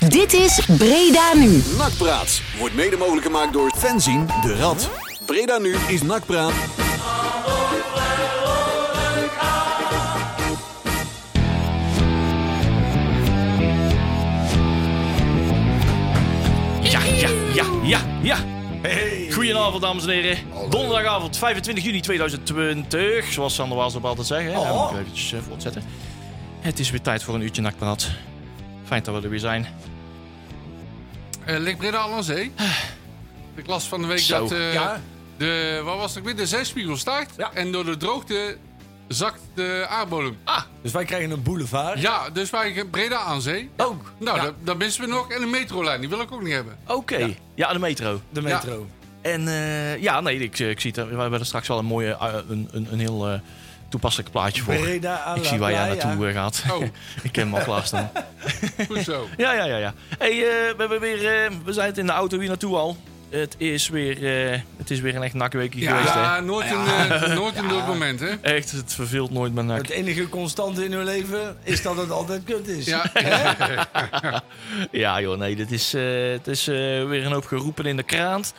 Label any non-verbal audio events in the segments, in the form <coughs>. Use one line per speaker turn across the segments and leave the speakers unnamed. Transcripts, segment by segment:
Dit is Breda Nu.
Nakpraat wordt mede mogelijk gemaakt door Fenzien de Rad. Breda nu is Nakpraat.
Ja, ja, ja, ja, ja. Goedenavond, dames en heren. Donderdagavond, 25 juni 2020. Zoals Sander Waals op altijd zeggen. hè.
Oh.
Dan moet ik eventjes eh, voortzetten. Het is weer tijd voor een uurtje nakpraat. Fijn dat we er weer zijn.
Eh ligt Breda al aan zee?
Ah.
Ik las van de week
Zo.
dat eh,
Ja.
de, wat was het ook weer? de zeespiegel stijgt.
Ja.
En door de droogte zakt de aardbodem.
Dus wij krijgen een boulevard.
Ja, dus wij hebben Breda aan zee.
Ook.
Nou,
Ja,
dat, dat missen we nog. En een metrolijn, die wil ik ook niet hebben.
Oké. Ja. de metro.
eh, de metro.
En eh, ja, nee, ik, eh, ik zie het. eh, We hebben er straks wel een mooie, eh, een, een, een heel eh, toepasselijk plaatje voor.
Breda aan
ik
la
zie waar jij
playa.
naartoe eh, gaat.
Oh.
<laughs> ik ken hem al klaarstaan.
Goed
<laughs>
zo.
Ja, ja, ja. ja. Hey, eh, we, hebben weer, eh, we zijn het in de auto hier naartoe al. Het is weer, eh, het is weer een echt nakweekje geweest, hè?
Ja, nooit een, eh, nooit een leuk moment, hè?
Echt, het verveelt nooit mijn nak.
Het enige constante in hun leven is dat het altijd kut is.
Ja,
Ja, joh, nee, dit is, eh, het is eh, weer een hoop geroepen in de kraant.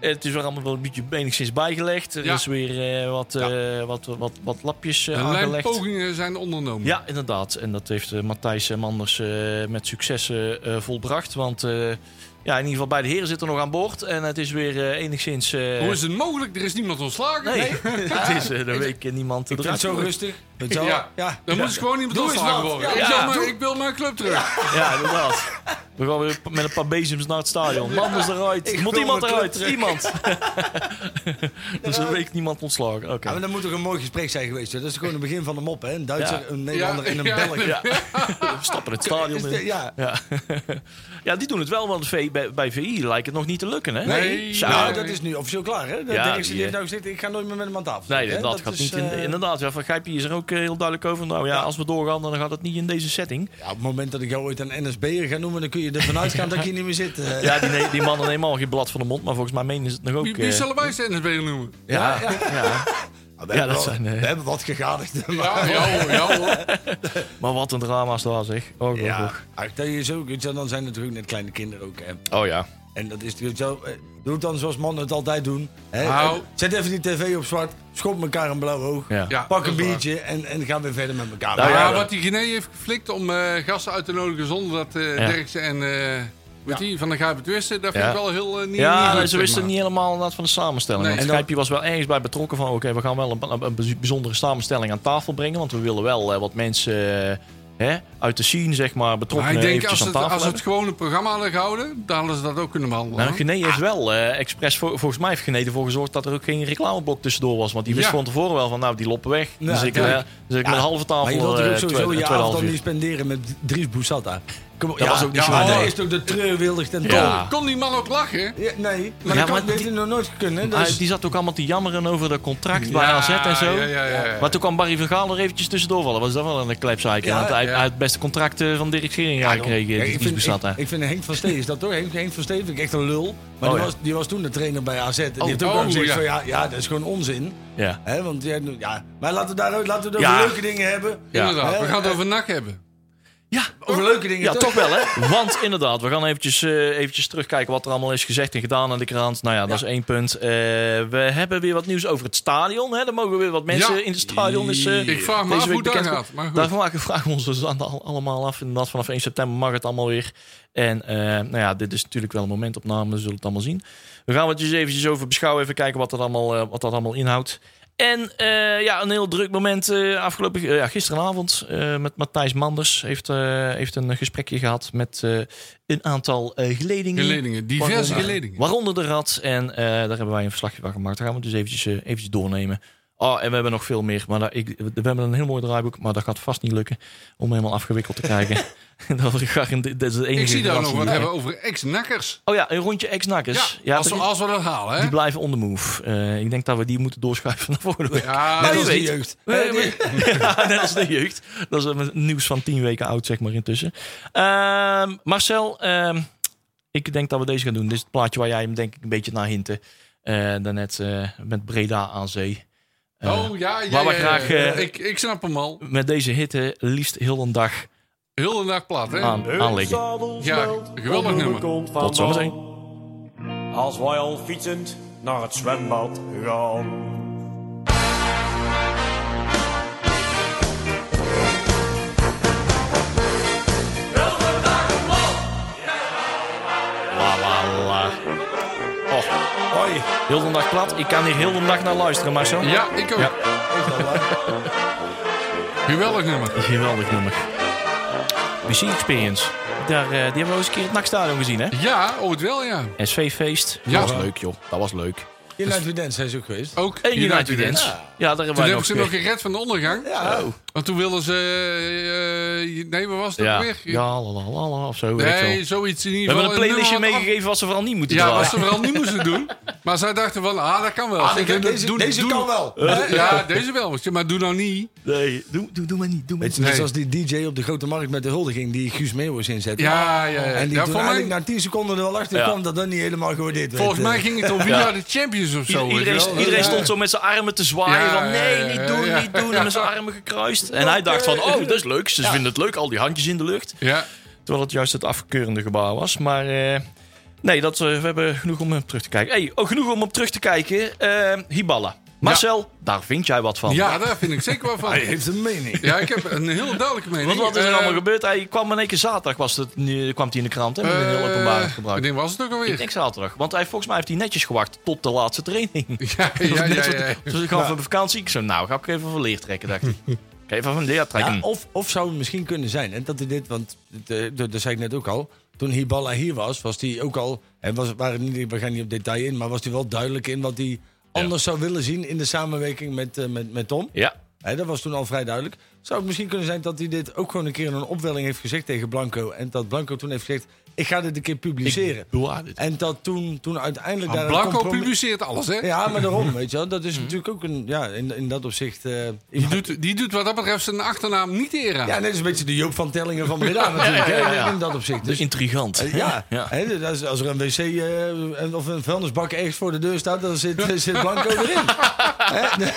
Eh, Het is weer allemaal wel een beetje enigszins bijgelegd. Er
Ja.
is weer eh, wat, eh, wat, wat, wat lapjes eh,
de
aangelegd.
lijmpogingen zijn ondernomen.
Ja, inderdaad. En dat heeft eh, Matthijs en Manders eh, met succes eh, eh, volbracht. Want eh, ja, in ieder geval beide heren zitten nog aan boord. En het is weer eh, enigszins... eh,
Hoe is het mogelijk? Er is niemand ontslagen.
Nee, <laughs> het is eh, de week niemand
Ik vind het
eruit.
zo rustig. Weet je wel?
Ja.
ja.
Dan moet ze gewoon iemand
Doe eens
ontslagen
wat.
worden.
Ja.
Ik,
Ja.
wil mijn, ik wil mijn club terug.
Ja, inderdaad. We gaan weer met een paar bezems naar het stadion. Manders eruit.
Ik
Moet
wil
iemand
mijn
eruit?
club terug.
Iemand.
<laughs>
dus een week niemand ontslagen. Oké.
Ja, maar dan moet toch een mooi gesprek zijn geweest. hè? Dat is gewoon het begin van de mop, hè? Een Duitser,
Ja.
een Nederlander en een
Ja.
Belg.
Ja. We stappen het stadion
Is
in.
de- ja.
Ja. <laughs> ja, die doen het wel, want V- bij, bij VI lijkt het nog niet te lukken, hè?
Nee.
Zo.
Nou, dat is nu officieel klaar, hè? De
Ja,
directie
die,
die heeft
eh,
nou gezegd, ik ga nooit meer met hem aan tafel.
Nee,
zitten, hè?
dat, gaat
is,
niet. in-
eh,
inderdaad, ja, van Gijpie is er ook eh, heel duidelijk over. Nou ja, als we doorgaan, dan gaat het niet in deze setting.
ja, op het moment dat ik jou ooit een NSB'er ga noemen, dan kun je ervan uitgaan dat ik hier niet meer zit. eh.
Ja, die, ne- die mannen nemen al geen blad van de mond, maar volgens mij menen ze het nog ook.
Wie, wie
eh,
zullen wij zijn NSB noemen?
ja, ja.
Nou, we, hebben
dat
wel-
zijn, eh,
we hebben wat gegadigd. maar-
Ja, ja hoor, ja hoor.
Maar wat een drama's daar, zeg. Oh,
Ja,
ja.
ach, dat is ook, weet je wel, dan zijn het natuurlijk net kleine kinderen ook. Hè.
oh ja.
En dat is natuurlijk zo. eh, Doe het dan zoals mannen het altijd doen. Hè.
Nou.
Zet even die tv op zwart, schop elkaar een blauw oog,
Ja.
Ja,
pak
dat
een
is waar.
biertje en, en ga weer verder met elkaar.
Nou
Maar
ja, dat-
wat die Guinea heeft geflikt om eh, gasten uit te nodigen zonder dat eh
Ja.
Derksen en eh, weet die, van de Gijpen het wisten, dat vind
Ja.
ik wel heel eh, niet niet
Ja,
goed,
ze
zeg
wisten
maar.
niet helemaal inderdaad van de samenstelling.
Nee,
want
en dan-
Gijpje was wel ergens bij betrokken van... oké, we gaan wel een, een bijzondere samenstelling aan tafel brengen... want we willen wel eh, wat mensen eh, hè, uit de scene, zeg maar,
Maar
betrokken
ik denk,
eventjes
als
aan
het,
tafel
als het
hebben.
gewoon een programma hadden gehouden, dan hadden ze dat ook kunnen behandelen.
Nou,
hoor.
Gené heeft wel eh, expres, voor, volgens mij heeft Gené ervoor gezorgd... dat er ook geen reclameblok tussendoor was. Want die wist
Ja.
van tevoren wel van, nou, die lopen weg.
Ja,
dus ik, eh,
tuurlijk.
dus ik met een halve tafel
maar je wilt toch
eh,
ook sowieso
twee-
je
tweeënhalf
avond dan
uur.
niet spenderen met Dries Boussatta. Kom op,
Dat was ook niet
ja,
zo
maar
handig.
dat is toch de treurwildig ten toon.
Ja.
Ja.
Kon die man ook lachen?
nee,
Ja,
maar dat
maar
kan- dat
die-
heeft nog nooit gekund. Hè?
Hij-
Dus,
die zat ook allemaal te jammeren over dat contract bij AZ en zo.
Ja, ja, ja, ja.
Eh. Maar toen kwam Barry van Gaal er eventjes tussendoor vallen. Was dat wel een klepseiker?
Ja,
Want hij hij
ja.
had het beste contract eh, van Dirk Schering gekregen.
Ja,
die
ik,
die
vind,
bezat, hè.
ik, ik vind Henk van Steen is dat toch? Henk, Henk van Steen vind ik echt een lul. Maar
Oh,
die,
ja.
was, die was toen de trainer bij AZ. En die heeft ook
oh,
al gezegd
ja.
van ja, ja, dat is gewoon onzin.
ja.
Hè, want jij- ja, maar laten we, daaruit, laten we het
Ja.
over leuke dingen hebben.
Ja.
Inderdaad, we
Ja,
gaan het
ja.
over NAC hebben.
Ja,
Over leuke dingen
Oh, ja,
toch?
toch wel hè? Want inderdaad, we gaan eventjes, eh, eventjes terugkijken wat er allemaal is gezegd en gedaan aan de krant. Nou ja, dat is één punt. Eh, we hebben weer wat nieuws over het stadion. Hè? Er mogen weer wat mensen
Ja.
in het stadion. Is, eh,
Ik vraag me
deze
af
week
hoe dat
bekend-
gaat, maar goed.
Daar vragen, vragen we ons dus aan- al- allemaal af. Inderdaad, vanaf 1 september mag het allemaal weer. En eh, nou ja, dit is natuurlijk wel een momentopname. We zullen het allemaal zien. We gaan het dus eventjes over beschouwen. Even kijken wat dat allemaal, eh, wat dat allemaal inhoudt. En eh, ja, een heel druk moment eh, afgelopen, eh, ja, gisterenavond eh, met Matthijs Manders. Heeft, eh, heeft een gesprekje gehad met eh, een aantal eh, geledingen.
Geledingen, diverse
Waaronder-
geledingen.
Waaronder de rad. En eh, daar hebben wij een verslagje van gemaakt. Daar gaan we dus eventjes, eh, eventjes doornemen. Oh, en we hebben nog veel meer. Maar daar, ik, we hebben een heel mooi draaiboek. Maar dat gaat vast niet lukken om helemaal afgewikkeld te
<laughs>
krijgen. <laughs> dat, we garandeer- dat is de enige
Ik zie daar nog
garantie
wat
die-
hebben over ex-nakkers.
Oh ja, een rondje ex-nakkers.
Ja,
Dus, Ja,
als, we,
dat-
als we dat halen, hè?
die blijven on the move. Eh, ik denk dat we die moeten doorschuiven naar volgende week.
Ja,
Net
wie
als die
weet.
jeugd.
Eh, ja, <laughs> net als de jeugd. Dat is een nieuws van tien weken oud, zeg maar, intussen. Ehm, Marcel, ehm, ik denk dat we deze gaan doen. Dit is het plaatje waar jij hem denk ik een beetje naar hinten. Eh daarnet eh, met Breda aan zee. Eh,
oh ja, ja.
waar we
ja, ja.
graag, eh,
ik, ik snap hem al.
Met deze hitte liefst heel een dag
Heel de nacht plat, hè?
aan, aanleggen.
Ja, geweldig nummer.
Tot zometeen.
Als wij al fietsend naar het zwembad gaan.
La la la. Oh, hoi. Heel de dag plat. Ik kan hier heel de dag naar luisteren, Marcel.
Ja, ik ook.
Ja.
Geweldig nummer.
Geweldig nummer. BC Experience. Daar, eh, die hebben we al eens een keer in het NAC-stadion gezien, hè?
Ja, ooit wel, ja.
SV-feest.
Ja.
Dat was leuk, joh. Dat was leuk.
United Dance zijn ze ook geweest.
Ook
En United,
United
Dance.
Dance.
Ja, daar hebben
Toen
wij
hebben
nog Oh.
ze nog gered van de ondergang.
Ja,
Want toen wilden ze... eh, eh, nee, wat was het
Ja,
ook weer?
ja la, la, la, la, of zo. weet ik veel.
Nee, zoiets in
we
ieder geval.
hebben een playlistje
En nummer wat af-
meegegeven wat ze vooral niet moeten Ah,
Ja,
draaien.
wat ze vooral niet moesten
<laughs>
doen. Maar zij dachten van, ah, dat kan wel.
Ah,
Zeg,
deze-
doe-
deze-
doe-
deze
doe-
kan wel.
Eh, Ja, deze wel. want je- Maar doe nou niet.
Nee, doe, doe, doe maar niet. Doe maar
Weet je,
niet.
net
Nee.
zoals die DJ op de grote markt met de huldiging die Guus Meeuwis inzette.
Ja, ja, ja. Ja,
En die toen
volgens mij-
eigenlijk na 10 seconden er wel achter
Ja.
kwam dat dat niet helemaal gewaardeerd werd.
Volgens mij
Eh,
ging het om wie
Ja.
naar de Champions of zo.
Ieder-
weet je wel.
iedereen iedereen
Ja.
stond zo met zijn armen te zwaaien.
Ja,
van nee,
ja,
niet
ja,
doen,
ja.
niet doen. En met
<laughs>
zijn armen gekruist. En hij dacht van, oh, dat is leuk. Ze vinden het leuk, al die handjes in de lucht.
Ja.
Terwijl het juist het afkeurende gebaar was. Maar eh, nee, dat, eh, we hebben genoeg om op terug te kijken. Hey, oh, genoeg om op terug te kijken. Eh Hiballa. Marcel, daar vind jij wat van.
ja, daar vind ik zeker wel van.
Hij heeft een mening.
Ja, ik heb een heel duidelijke mening.
Want wat is er
Eh,
allemaal gebeurd? Hij kwam in één keer zaterdag, was het, nu kwam hij in de krant. Hè, met een heel
eh,
openbaar gebruik.
Wanneer was het ook
Ik
alweer?
denk zaterdag. Want hij, volgens mij heeft hij netjes gewacht tot de laatste <laughs> training.
Ja, ja, ja, ja.
Dus ik ga van vakantie. Ik zo, nou, ga ik even van leer trekken, dacht ik. Ik ga even van leer trekken.
Ja, of, of zou het misschien kunnen zijn, hè, dat hij dit, want de- de- dat zei ik net ook al, toen Hiballa hier was, was hij ook al, en was, waren niet, we gaan niet op detail in, maar was hij wel duidelijk in wat hij anders zou willen zien in de samenwerking met, eh, met, met Tom.
Ja.
Hè, dat was toen al vrij duidelijk. Zou het misschien kunnen zijn dat hij dit ook gewoon een keer in een opwelling heeft gezegd tegen Blanco. En dat Blanco toen heeft gezegd, ik ga dit een keer publiceren.
Bewaar dit.
En dat toen, toen uiteindelijk...
Maar
daar een
Blanco
compromis-
publiceert alles, hè?
Ja, maar daarom, weet je wel.
<laughs>
Dat
Mhm.
is natuurlijk ook een, ja, in, in dat opzicht... eh,
Die doet, die doet wat dat betreft zijn achternaam niet eren.
ja, net is een beetje de Joop van Tellingen van Breda
<laughs>
natuurlijk.
ja, ja,
hè,
ja.
In dat opzicht.
Dus
Dus,
intrigant.
<laughs>
<laughs>
ja,
Ja.
hè, dat is- als er een wc eh, en- of een vuilnisbak ergens voor de deur staat, dan zit,
<laughs>
zit Blanco erin. Hè, <laughs> de,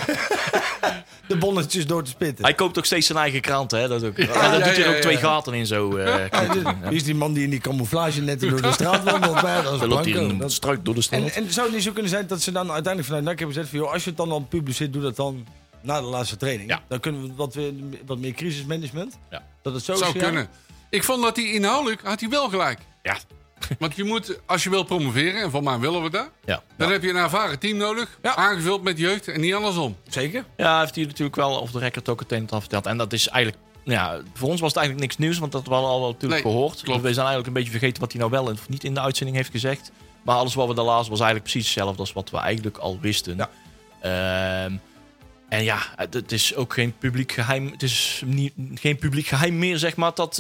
de bonnetjes door te spitten.
Hij koopt ook steeds zijn eigen krant, hè? Dat ook. en daar
ja,
doet hij
ja,
ook
ja.
twee gaten in zo. eh
Ja, dit- hier is die man die in die camouflage net
<laughs>
door de straat wandelt. Maar ja, dat is
dan loopt hij
Blanco.
in een
Dat-
struik door de
En,
straat.
en zou het niet zo kunnen zijn dat ze dan uiteindelijk vanuit NAC hebben gezegd... Van, joh, als je het dan al publiceert, doe dat dan na de laatste training.
Ja.
Dan kunnen we wat, weer- wat meer crisismanagement.
Ja.
Dat het zo is
Zou
gegaan.
kunnen. Ik vond dat hij inhoudelijk had hij wel gelijk.
Ja.
Want je moet, als je wil promoveren, en van mij willen we dat,
Ja.
dan heb je een ervaren team nodig. Aangevuld met jeugd en niet andersom.
Eh,
Zeker.
ja, heeft hij natuurlijk wel op de record ook het een en het ander verteld. En dat is eigenlijk. nou Ja, voor ons was het eigenlijk niks nieuws, want dat hadden we al natuurlijk
Nee,
gehoord.
klopt.
We zijn eigenlijk een beetje vergeten wat hij nou wel en niet in de uitzending heeft gezegd. Maar alles wat we daar lazen was eigenlijk precies hetzelfde als wat we eigenlijk al wisten.
Ja.
Ehm, en ja, het, het is ook geen publiek geheim. Het is niet, geen publiek geheim meer, zeg maar, dat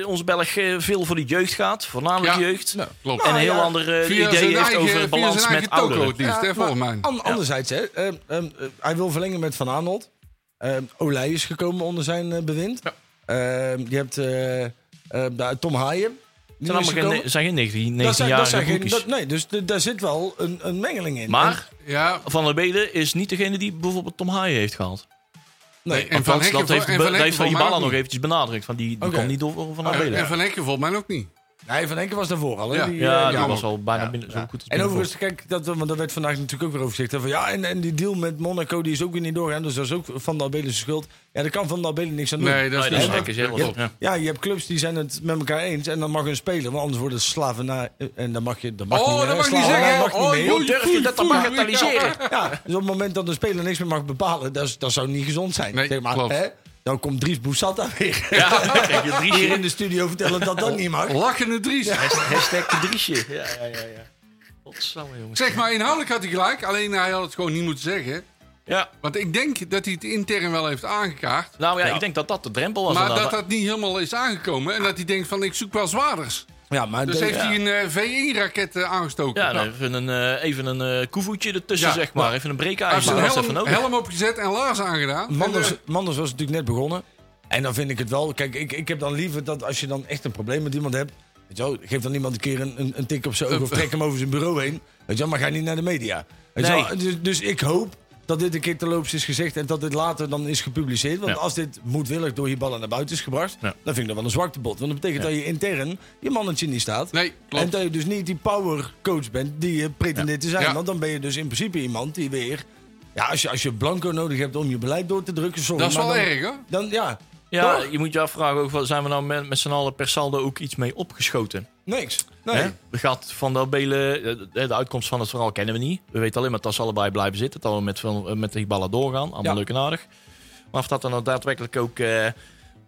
eh, onze Belg eh, veel voor de jeugd gaat. Voornamelijk
Ja.
jeugd.
Nou,
Klopt.
En een heel ander eh,
Via
idee
zijn
heeft
eigen- via
over balans
zijn
met
eigen toko
ouderen.
het liefst, hè,
maar
volgens mij.
an- anderzijds, hè, ehm, ehm, eh, hij wil verlengen met Van Arnold. Ehm Olij is gekomen onder zijn eh, bewind.
Ja.
Ehm, je hebt eh, eh, daar Tom Haaien. Die
Het zijn
is
allemaal
gekomen.
geen, zijn geen 19,
dat
19
zijn, dat
jarige
zijn geen,
broekies.
dat- Nee, dus de- daar zit wel een, een mengeling in. En-
Maar
Ja,
Van der Belen is niet degene die bijvoorbeeld Tom Haaien heeft gehaald.
nee,
en Van
Want
Hekken
dat heeft, be- dat
en Van
heeft Van
Hekken volgens mij
Ibala
ook
nog
niet.
eventjes benadrukt. Van die, die
Oké.
kwam niet door voor Van der
En
Belen.
Van Hekken volgens mij ook niet.
nee, Van Enken was daarvoor al. hè,
Ja.
die, eh,
Ja, die
ja,
was al bijna
Ja.
binnen, zo goed als
En
binnen
overigens, kijk, dat, want daar werd vandaag natuurlijk ook weer over gezegd. hè, Van, ja, en, en die deal met Monaco die is ook weer niet doorgaan. Dus dat is ook Van der Belen's schuld. Ja, daar kan Van der Belen niks aan doen.
Nee, dat is
Nee, dat
niet
is Hekken
waar.
zelf.
Klopt.
Ja.
Ja, je hebt clubs die zijn het met elkaar eens en dan mag hun spelen. Want anders wordt het slavernij. En dan mag je dat mag niet
Oh,
meer,
dat
hè,
mag ik niet
slavernij
zeggen.
mag niet
Oh,
meer.
joh,
Durf je
foei,
dat te
foei.
bagatelliseren?
<laughs>
Ja, dus op het moment dat een speler niks meer mag bepalen, dat, is- dat zou niet gezond zijn.
Nee,
zeg maar,
klopt.
Hè? Dan komt Dries Boussata weer
Ja, kijk, je
hier in
driesje.
de studio vertellen dat
Oh.
dat niet mag.
Lachende Dries.
Hashtag de driesje. Ja, ja, ja. ja. Godsamme, jongens.
Zeg maar, inhoudelijk had hij gelijk. Alleen hij had het gewoon niet moeten zeggen.
Ja.
Want ik denk dat hij het intern wel heeft aangekaart.
Nou ja, ik denk dat dat de drempel was.
Maar dat
inderdaad.
dat niet helemaal is aangekomen. En dat hij denkt van, ik zoek wel zwaarders.
Ja, maar
Dus
dat-
heeft hij een V1-raket eh, aangestoken. Nou,
Ja, dan even een, eh even een eh, koevoetje ertussen,
Ja.
zeg maar. Even een breekijzer.
Hij heeft
Dat was
zijn
even
helm,
nodig.
helm opgezet en laars aangedaan.
Manders,
En, eh,
Manders was natuurlijk net begonnen. En dan vind ik het wel. Kijk, ik, ik heb dan liever dat als je dan echt een probleem met iemand hebt. Weet je wel, geef dan iemand een keer een, een, een tik op zijn oog of trek hem over zijn bureau heen. Weet je wel, maar ga niet naar de media. Weet je
Nee.
wel, dus, dus ik hoop dat dit een keer te loops is gezegd en dat dit later dan is gepubliceerd. Want
Ja.
als dit moedwillig door Hiballa naar buiten is gebracht,
Ja.
dan vind ik dat wel een zwakte bot. Want dat betekent dat je intern je mannetje niet staat.
eh, Nee, klopt.
En dat je dus niet die power coach bent die je pretendeert te zijn.
Ja.
Want dan ben je dus in principe iemand die weer... Ja, als je, als je blanco nodig hebt om je beleid door te drukken, sorry.
Dat is
maar
wel
dan,
erg, hoor.
Dan, ja,
Ja,
Toch?
je moet je afvragen, ook, wat- zijn we nou met, met z'n allen per saldo ook iets mee opgeschoten?
niks. Nee.
Hè? We gaat Van de Belen, eh, de uitkomst van het verhaal kennen we niet. We weten alleen maar dat ze allebei blijven zitten. Dat we met, Van- eh, met die ballen doorgaan. Allemaal
Ja.
leuk en aardig. Maar of dat er nou daadwerkelijk ook eh,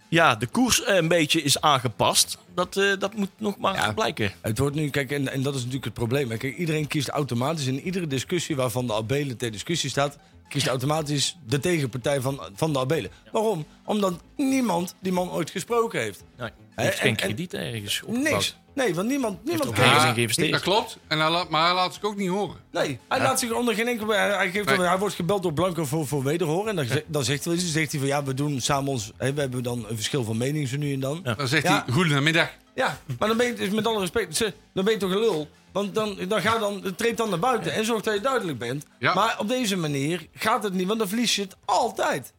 ja, de koers eh, een beetje is aangepast, dat, eh, dat moet nog maar
Ja.
blijken.
Het wordt nu, kijk, en, en dat is natuurlijk het probleem. hè. Kijk, iedereen kiest automatisch in iedere discussie waarvan de Abelen ter discussie staat, kiest automatisch de tegenpartij van, van de Abelen. Waarom? Omdat niemand die man ooit gesproken heeft.
Nee,
Hè,
er heeft
en-
geen
en-
krediet ergens opgebouwd.
Niks. Nee, want niemand, niemand
ook
kent
geen
hem.
zin geïnvesteerd.
Dat klopt. En hij laat, maar hij laat zich ook niet horen.
Nee, hij laat zich onder geen enkel. Hij, hij, geeft
Nee.
wel- hij wordt gebeld door Blanco voor, voor wederhoor. En dan, ze- dan zegt, hij, zegt hij van ja, we doen samen ons. Hè, we hebben dan een verschil van mening zo nu en dan.
Ja.
Dan zegt
Ja.
hij, goedemiddag.
Ja, maar dan ben je, dus met alle respect, ze- dan ben je toch een lul. Want dan, dan ga dan, treed dan naar buiten en zorg dat je duidelijk bent.
Ja.
Maar op deze manier gaat het niet, want dan verlies je het altijd.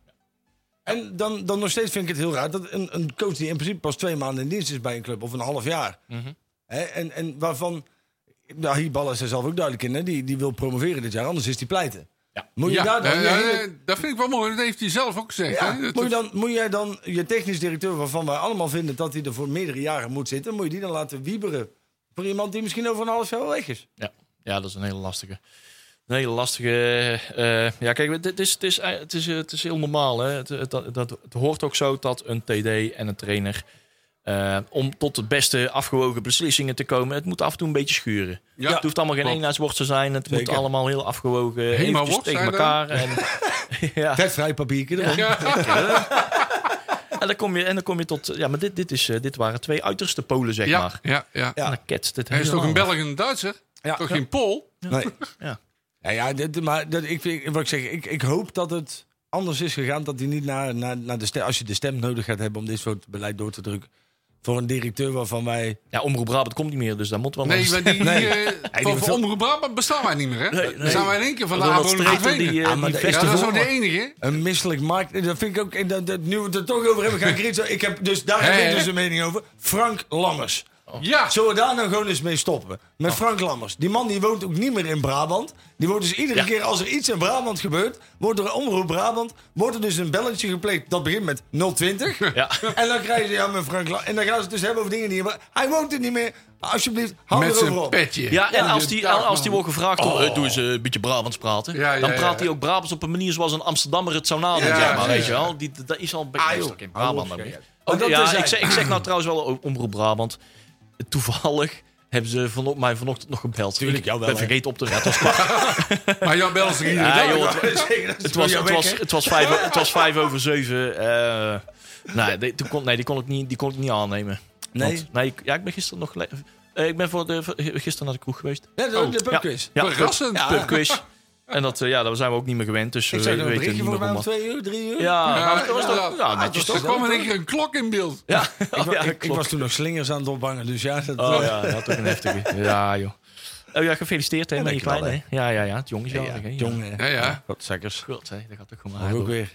En dan, dan nog steeds vind ik het heel raar dat een, een coach die in principe pas twee maanden in dienst is bij een club, of een half jaar.
Mhm.
Hè, en, en waarvan, nou, Hiballa is er zelf ook duidelijk in, hè? Die, die wil promoveren dit jaar, anders is die pleiten.
Ja.
Moet je
ja,
daar dan
eh,
je
eh,
hele-
dat vind ik wel mooi. Dat heeft hij zelf ook gezegd.
ja,
hè? Dat-
moet, je dan, moet jij dan je technisch directeur, waarvan wij allemaal vinden dat hij er voor meerdere jaren moet zitten, moet je die dan laten wieberen voor iemand die misschien over een half jaar wel weg is?
Ja, ja dat is een hele lastige. Een hele lastige. eh, ja, kijk, het is, het, is, eh, het, is, eh, het is heel normaal. Hè? Het, het, dat, dat- het hoort ook zo dat een TD en een trainer. eh, om tot de beste afgewogen beslissingen te komen. Het moet af en toe een beetje schuren.
Ja,
het hoeft allemaal geen
klopt.
eenheidswoord te zijn. Het moet
Zeker.
allemaal heel afgewogen. eventjes
woord
tegen
zijn
elkaar. En, ja,
Vetvrij papiertje erom.
Ja.
en, dan kom je, en dan kom je tot. Ja, maar dit, dit, is, eh, dit waren twee uiterste polen, zeg
Ja,
maar.
ja, ja.
Ja.
En dan ketst het
Hij is toch
helemaal.
een Belg en een Duitser?
Ja.
Toch geen Pool?
Nee.
Ja.
Ja, ja dit, maar dat, ik, vind- wat ik zeg, ik, ik hoop dat het anders is gegaan. Dat hij niet naar, naar, naar de stem, als je de stem nodig gaat hebben om dit soort beleid door te drukken. Voor een directeur waarvan wij.
ja, omroep Brabant komt niet meer, dus daar moet wel
Nee,
eens- <laughs>
maar die,
Nee.
eh, voor, voor Omroep Brabant bestaan wij niet meer, hè?
Nee,
Dan zijn wij in één keer van de
Ronald
ABO naar
Streeter,
Venen.
die, eh,
Ja,
Ah, maar
die
de-
vecht
dat is
ervoor.
ook de enige.
Een misselijk markt. Dat vind ik ook. En dat, dat, nu we het er toch over hebben, ga ik er iets. Ik heb dus daar heb ik
Hè?
dus een mening over. Frank Lammers.
Oh.
Ja,
Zullen we daar nou gewoon eens mee stoppen? Met Frank Lammers. Die man die woont ook niet meer in Brabant. Die wordt dus iedere
Ja.
keer als er iets in Brabant gebeurt, wordt er omroep Brabant, wordt er dus een belletje gepleegd. Dat begint met
<laughs>
020.
Ja.
En dan krijgen ze ja met Frank Lammers. En dan gaan ze het dus hebben over dingen die. Maar hij woont er niet meer. Alsjeblieft, hou
met
erover
zijn
op. <laughs>
petje.
Ja, en als die,
Dag, man.
als die wordt gevraagd, oh. eh, doe eens eh, een beetje Brabants praten.
Ja, ja,
dan praat
ja.
hij ook Brabants op een manier zoals een Amsterdammer het zou nadoen.
Ja,
zeg maar,
precies.
weet je wel. Die, dat is al een beetje
Ah, joh.
meestal in Brabant.
Hou op,
dan
zeg.
weer.
Oh, dat
ja,
terzijde.
ik, zeg, ik zeg nou trouwens wel o- Omroep Brabant. Toevallig hebben ze van, mij vanochtend nog gebeld.
Tuurlijk, jou
ik
wel,
ben
hè.
vergeten op te redden. Het was, kwart-
Maar Jan Bel is er iedere
Ja,
dag.
joh,
Dat is zeker, dat is
het,
voor
was,
jou
het,
weg,
was,
hè?
het, was vijf,
<laughs>
o- het was vijf over zeven. eh, nee, die, toen kon, nee, die kon ik niet, die kon ik niet aannemen.
Nee.
Want- nee, ik- ja, ik ben gisteren nog... gele- eh, ik ben voor de, voor- gisteren naar de kroeg geweest.
Ja, de, Oh, de
Oh, Ja.
pubquiz.
Ja,
Verrassend.
pub- pubquiz. En dat, eh, ja, daar zijn we ook niet meer gewend. Dus
Ik
we
zei nog een
weten
berichtje
niet
voor
meer
mij
om
om
wat.
twee uur, drie uur.
Ja,
Ja,
maar dat was
ja,
toch... Ja,
ja,
netjes
Er
toch?
kwam in één keer een klok in beeld.
Ja,
Ik, wa-
<laughs> ja,
ik, ik
klopt.
was toen nog slingers aan het ophangen, dus ja. Dat,
Oh ja, dat had ook een heftige. Ja, joh. Oh ja, gefeliciteerd hè, met je
dankjewel,
kleine. hè. Ja, ja, ja. Het jong is jarig, hè. Ja.
Jong, eh,
Ja, ja.
Godzakkers.
God, hè. Dat gaat ook gewoon
Ook
hard.
weer.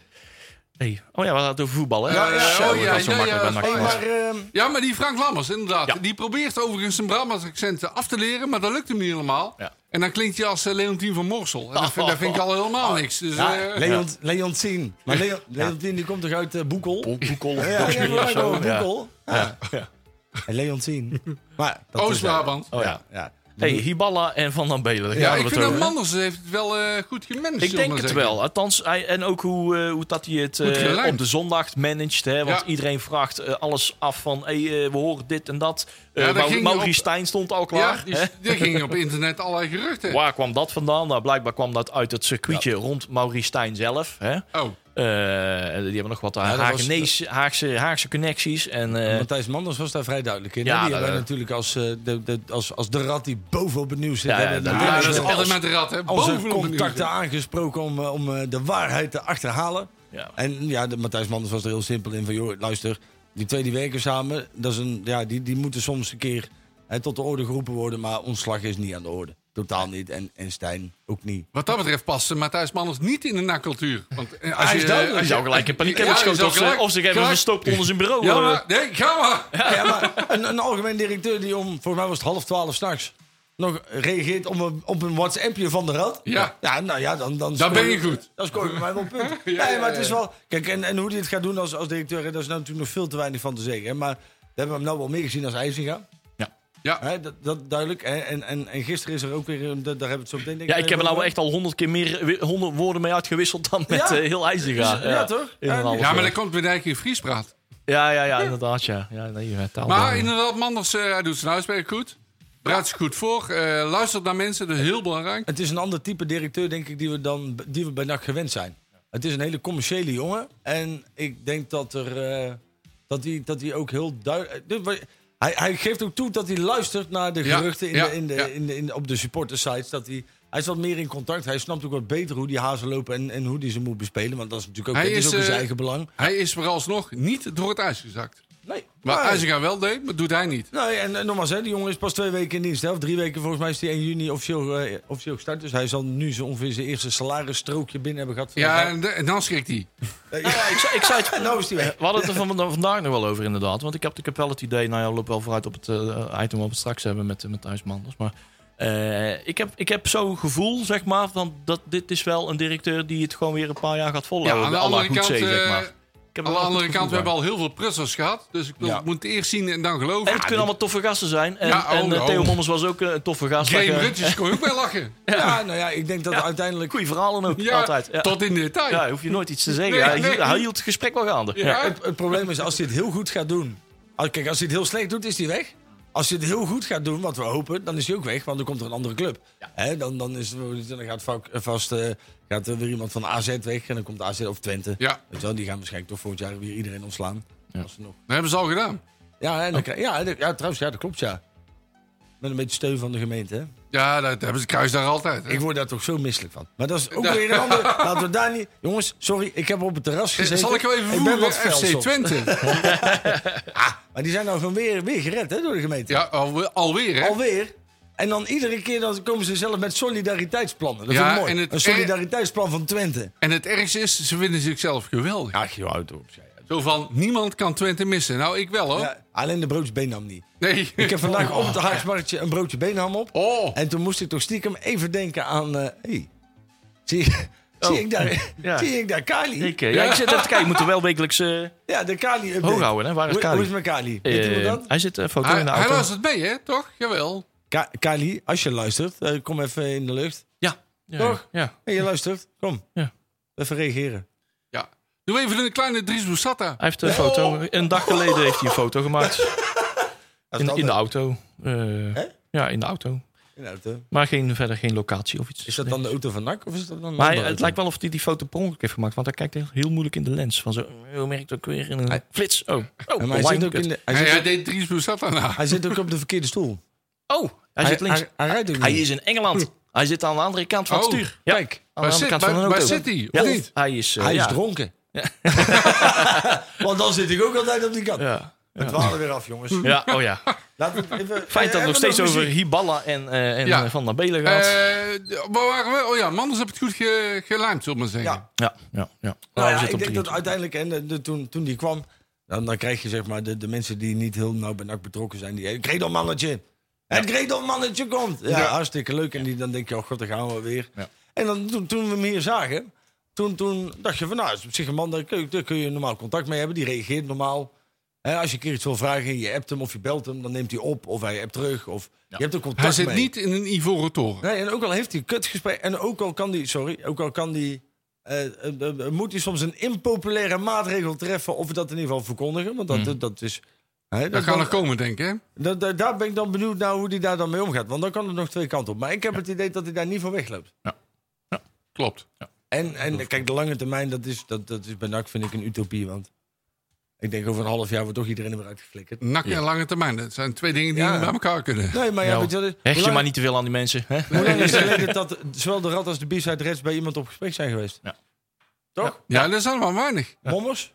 Hey. Oh ja, we hadden het over voetbal, hè?
Ja, ja,
Zo,
oh
dat
ja,
was zo
ja,
makkelijk
ja,
bij
oh
Hey,
NAC.
maar ehm,
Ja, maar die Frank Lammers, inderdaad.
Ja.
Die probeert overigens een Brabants accent af te leren, maar dat lukt hem niet helemaal.
Ja.
En dan klinkt hij als eh, Leontien van Morsel. En dat, vind, dat vind ik al helemaal niks. Dus,
ah, Ja,
eh,
Leon, Leontien. Maar Leon, Leontien die komt toch uit eh, Boekel?
Boekel of
Ja, ja,
Doksmuur
ja,
of zo.
gewoon
ja.
Boekel. Ja. En Leontien. <laughs> Maar dat is-
Oost-Brabant.
Oh ja.
Ja.
Hey, Hiballa en Van den Belen. daar
Ja,
gaan we
ik
het
vind dat
over.
Manders heeft het wel eh, goed gemanaged.
Ik
zullen we
denk het
zeggen.
wel. Althans, hij- en ook hoe, eh, hoe dat hij het
Goed
eh,
gelijmd.
op de zondag managt. Hè? Want
Ja.
iedereen vraagt eh, alles af van... Hey, eh, we horen dit en dat. Eh
Ja, dat
Mau-
ging
Maurice
op-
Stijn stond al klaar.
Ja, die,
hè?
die ging op internet allerlei geruchten.
Waar kwam dat vandaan? Nou, blijkbaar kwam dat uit het circuitje rond Maurice Stijn zelf. Hè?
Oh,
Eh, die hebben nog wat
dat was-
Haagenees- Haagse, Haagse connecties. En, eh,
Matthijs Manders was daar vrij duidelijk in. hè?
Ja,
die hebben wij
dat-
natuurlijk als, eh, de, de, als, als de rat die bovenop het nieuws zit.
Ja, ja,
hebben we
dat-
ja,
natuurlijk
dat is
wel
altijd met de rat, hè?
onze
Bovenop de
contacten
nieuwe.
aangesproken om, eh, om eh, de waarheid te achterhalen.
ja.
En ja, de, Matthijs Manders was er heel simpel in van... joh, luister, die twee die werken samen, dat is een, ja, die, die moeten soms een keer hè, tot de orde geroepen worden... maar ontslag is niet aan de orde. totaal niet. En, en Stijn ook niet.
Wat dat betreft past eh, Matthijs Manners niet in de nakcultuur. Want eh, als
Hij is
je,
dood,
eh,
hij
als
zou
je-
gelijk in paniek
Ja,
hebben
je
geschoten
zou
of ze-
gelijk-
of ze hebben
gelijk-
verstopt onder zijn bureau,
Ja,
eh.
maar, nee, ga maar.
Ja, maar een, een algemeen directeur die om, volgens mij was het half twaalf s'nachts, nog reageert op een, op een WhatsAppje van de Rad.
Ja.
ja nou ja, dan... Dan,
Dan ben je
scoor-
goed.
Dan scoor je bij mij wel een
<laughs>
punt.
Ja,
nee, maar
ja,
het is
ja.
wel... Kijk, en, en hoe hij het gaat doen als, als directeur, hè, daar is nou natuurlijk nog veel te weinig van te zeggen. hè, Maar we hebben hem nou wel meer gezien als IJsinga.
Ja,
Hè, dat, dat duidelijk. hè, En, en, en gisteren is er ook weer... een- dat- Daar hebben we het zo meteen denk
Ja, ik heb er
even
nou
over.
echt al honderd keer meer wi- honderd woorden mee uitgewisseld dan met
Ja.
eh, heel IJzerga.
Ja, toch?
In een
Ja,
half
ja maar
uur.
dan komt Bedijk in Fries praat.
ja, ja, ja, inderdaad, ja. ja nee, je hebt al
Maar
de-
inderdaad, Manders eh, hij doet zijn huiswerk goed. Praat zich goed voor. eh, luistert naar mensen, dat is heel belangrijk.
Het is een ander type directeur, denk ik, die we, dan, die we bij NAC gewend zijn. Het is een hele commerciële jongen. En ik denk dat er. eh, dat hij dat hij ook heel duidelijk. Hij, hij geeft ook toe dat hij luistert naar de
Ja,
geruchten in
ja,
de, in de,
ja.
in de, in de- op de supportersites. Dat hij, hij is wat meer in contact. Hij snapt ook wat beter hoe die hazen lopen en, en hoe die ze moet bespelen. Want dat is natuurlijk ook,
Hij
dat is
is,
ook in zijn
eh,
eigen belang.
Hij is vooralsnog niet door het ijs gezakt.
Nee,
Maar
nee.
IJzinga wel deed, maar doet hij niet.
Nee, en, en nogmaals, hè, die jongen is pas twee weken in dienst. Hè? Of drie weken volgens mij is hij 1 juni officieel, eh, officieel gestart. Dus hij zal nu zo ongeveer zijn eerste salarisstrookje binnen hebben gehad. Eh,
Ja, en, de- en dan schrikt hij.
Ja, ik, zei- ik zei het
En nou is hij weg.
We hadden het er van, vandaag nog wel over, inderdaad. Want ik heb, ik heb wel het idee, nou ja, loop wel vooruit op het eh, item wat we straks hebben met, met Thijs Manders. Maar eh, ik heb, ik heb zo'n gevoel, zeg maar, van dat dit is wel een directeur die het gewoon weer een paar jaar gaat volhouden.
Ja, aan de
à la
andere kant,
Goedzee, zeg
eh,
maar. Ik heb er
Aan de
wel een
andere
goed
kant, we
gevoel bij.
hebben al heel veel prutsers gehad. Dus ik wil,
Ja.
moet het eerst zien en dan geloven.
En het kunnen allemaal toffe gasten zijn. En,
Ja, oh,
en eh,
oh.
Theo Mommers was ook eh, een toffe gast.
Graham
Maar, eh,
Rutjes kon je ook bij
<laughs>
lachen.
Ja, nou ja, ik denk dat uiteindelijk...
Goeie verhalen ook,
Ja,
altijd. Ja.
Tot in detail.
Ja, hoef je nooit iets te zeggen.
Nee,
hij,
nee.
hield- hij hield het gesprek wel gaande.
Ja.
Ja.
Het, het probleem is, als hij het heel goed gaat doen... Als, kijk, als hij het heel slecht doet, is hij weg. Als hij het heel goed gaat doen, wat we hopen, dan is hij ook weg. Want dan komt er een andere club. Hè, dan, dan, is, het- dan gaat, vak- vast, eh, gaat er weer iemand van AZ weg. En dan komt AZ of Twente.
Ja.
Weet je wel, die gaan waarschijnlijk toch volgend jaar weer iedereen ontslaan. Als ze nog
Dat hebben ze al gedaan.
Ja, en dan
Oh.
krijg- ja, en- ja, trouwens, ja, dat klopt, ja. Met een beetje steun van de gemeente, hè.
Ja, dat hebben ze kruis daar altijd. hè.
Ik word daar toch zo misselijk van. Maar dat is ook weer een ander... <laughs> Laten we daar niet... Jongens, sorry, ik heb op het terras
Eh,
gezeten.
Zal ik wel even
Ik ben
voelen?
wat fel
FC
soms. <laughs>
Twente.
Maar die zijn nou gewoon weer, weer gered, hè, door de gemeente.
Ja, alweer, alweer hè?
Alweer. En dan iedere keer dan komen ze zelf met solidariteitsplannen. Dat
Ja,
vind ik mooi.
en het-
Een solidariteitsplan van Twente.
En het ergste is, ze vinden zichzelf geweldig.
Ja, je houdt op. ja, ja.
Zo van, niemand kan Twente missen. Nou, ik wel hoor.
Ja, alleen de broodjesbeen nam niet.
Nee.
Ik heb vandaag op het Haagsmarktje een broodje beenham op.
<laughs> Oh.
En toen moest ik toch stiekem even denken aan... eh, hey, zie, zie, ik daar,
Oh. Ja.
zie ik daar Kali?
Ik, eh, ja, ik zit even te kijken. Je moet er wel wekelijks... eh,
ja, de Kali update.
Hoog houden, hè? Waar is
Hoe-
Kali?
Hoe is mijn Kali? Weet
eh,
iemand dat?
hij zit een foto
Hij,
in de
hij
auto.
luistert mee, hè? Toch? Jawel.
Ka- Kali, als je luistert, eh, kom even in de lucht.
Ja. ja.
Toch?
Ja.
Hey, je luistert, kom.
Ja.
Even reageren.
Ja. Doe even een kleine Dries Boussata.
Hij heeft een foto... Een dag geleden heeft hij een foto gemaakt.
Als
In,
dat-
in de auto. Eh, ja, in de auto.
in de auto.
Maar geen, verder geen locatie of iets.
Is dat dan de auto van NAC of is dat dan een
maar
andere
het
auto?
lijkt wel of hij die foto per ongeluk heeft gemaakt. Want hij kijkt heel, heel moeilijk in de lens. Van zo, eh, hoe merk ik dat ook weer in een flits? Oh, oh
Ja, maar hij
online,
zit ook
kut.
in de- hij
Hij,
zit
hij
ook-
deed Dries Boussata na.
Hij zit ook op de verkeerde stoel.
Oh, hij, zit links.
Hij, hij rijdt ook
Hij
niet.
is in Engeland. Hij zit aan de andere kant van het
Oh,
stuur. Ja.
kijk.
aan de
Waar
andere
zit-
kant van
waar-
een auto.
waar zit hij, of
Ja,
niet?
Hij is, eh,
Hij is
ja.
dronken. Want dan zit ik ook altijd op die kant.
Ja.
Het dwalen weer af, jongens.
ja, oh
<laughs>
ja.
Laten we even,
Fijn dat het
even
nog steeds over
muziek.
Hiballa en, eh, en
Ja.
eh, Van der Belen
Eh,
gaat.
d- waar waren we? Oh ja, Manders heb het goed ge, geluimd, zullen we maar zeggen.
Ja.
ja, ja, ja.
Nou
Nou,
ja,
we zitten
ik
op
denk
drie.
dat uiteindelijk, en de, de- toen, toen die kwam, dan, dan krijg je zeg maar de, de mensen die niet heel nauw bij NAC betrokken zijn. Die, Gredel mannetje, het Gredel mannetje komt. Ja,
Ja.
hartstikke leuk. En die, dan denk je, oh god, daar gaan we weer.
Ja.
En dan, toen, toen we hem hier zagen, toen, toen dacht je van, nou, het is op zich een man, daar kun, je- daar kun je normaal contact mee hebben. Die reageert normaal. Hè, als je een keer iets wil vragen, je appt hem of je belt hem, dan neemt hij op of hij appt terug. Of je hebt een contact
Hij zit
mee.
niet in een ivoren toren.
Nee, en ook al heeft hij kutgesprek. En ook al kan die, sorry, ook al kan die. eh, eh, eh, moet hij soms een impopulaire maatregel treffen. of dat in ieder geval verkondigen.
Mm.
Want dat, dat, dat is. hè,
Dat
dat
gaat
dan-
nog komen, denk ik. hè?
dat- dat- daar ben ik dan benieuwd naar hoe hij daar dan mee omgaat. Want dan kan het nog twee kanten op. Maar ik heb het idee dat hij daar niet van wegloopt.
Klopt.
En, en kijk, de lange termijn, dat is, dat, dat is bij NAC vind ik een utopie. Want ik denk over een half jaar wordt toch iedereen weer uitgeflikkerd.
Mm.
Nak en lange termijn. Dat zijn twee dingen die
Ja.
niet bij elkaar kunnen.
Nee, maar ja,
Nou,
weet je, wat het is?
Hecht
Hoe
je
lang-
maar niet te veel aan die mensen. Hè?
Hoe lang
<laughs>
is het geleden dat zowel de rat als de B-side Reds bij iemand op gesprek zijn geweest?
Ja.
Toch?
Ja, dat is allemaal weinig.
Mommers?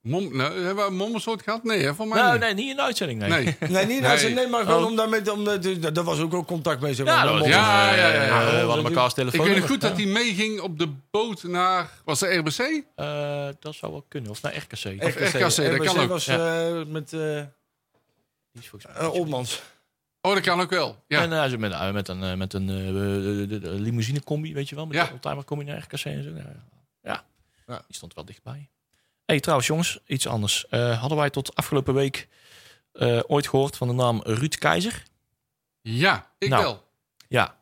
Mom, nou, hebben we een mommersoort gehad? Nee, hè, voor mij
Nou,
niet.
nee, niet in de uitzending. <laughs> Nee. Nou,
Nee.
Nee, niet
Nee.
nee. nee, maar wel
Oh.
om daarmee... Om, de- de- daar was ook wel contact mee. Zeg maar,
Ja,
met
dat was-
Mol.
Ja, ja, ja, ja.
Eh, we hadden
dat-
elkaars
Ik
telefoon.
weet nog goed dat hij meeging op de boot naar... Was dat RBC?
Eh, dat zou wel kunnen. Of naar RKC.
RKC,
RKC, dat
RKC
kan ook,
was eh, met eh
Die is volgens mij-
eh, Olmans.
Oh, dat kan ook wel. Ja.
En eh, ze met, eh, met een, eh, met een eh, de- de- de limousinecombi, weet je wel. Met
Ja.
een oldtimercombi naar RKC en zo. Ja, ja. Ja,
Ja.
die stond wel dichtbij. hey, trouwens jongens, iets anders. Eh, hadden wij tot afgelopen week eh, ooit gehoord van de naam Ruud Keizer?
ja, ik
Nou.
wel.
Ja,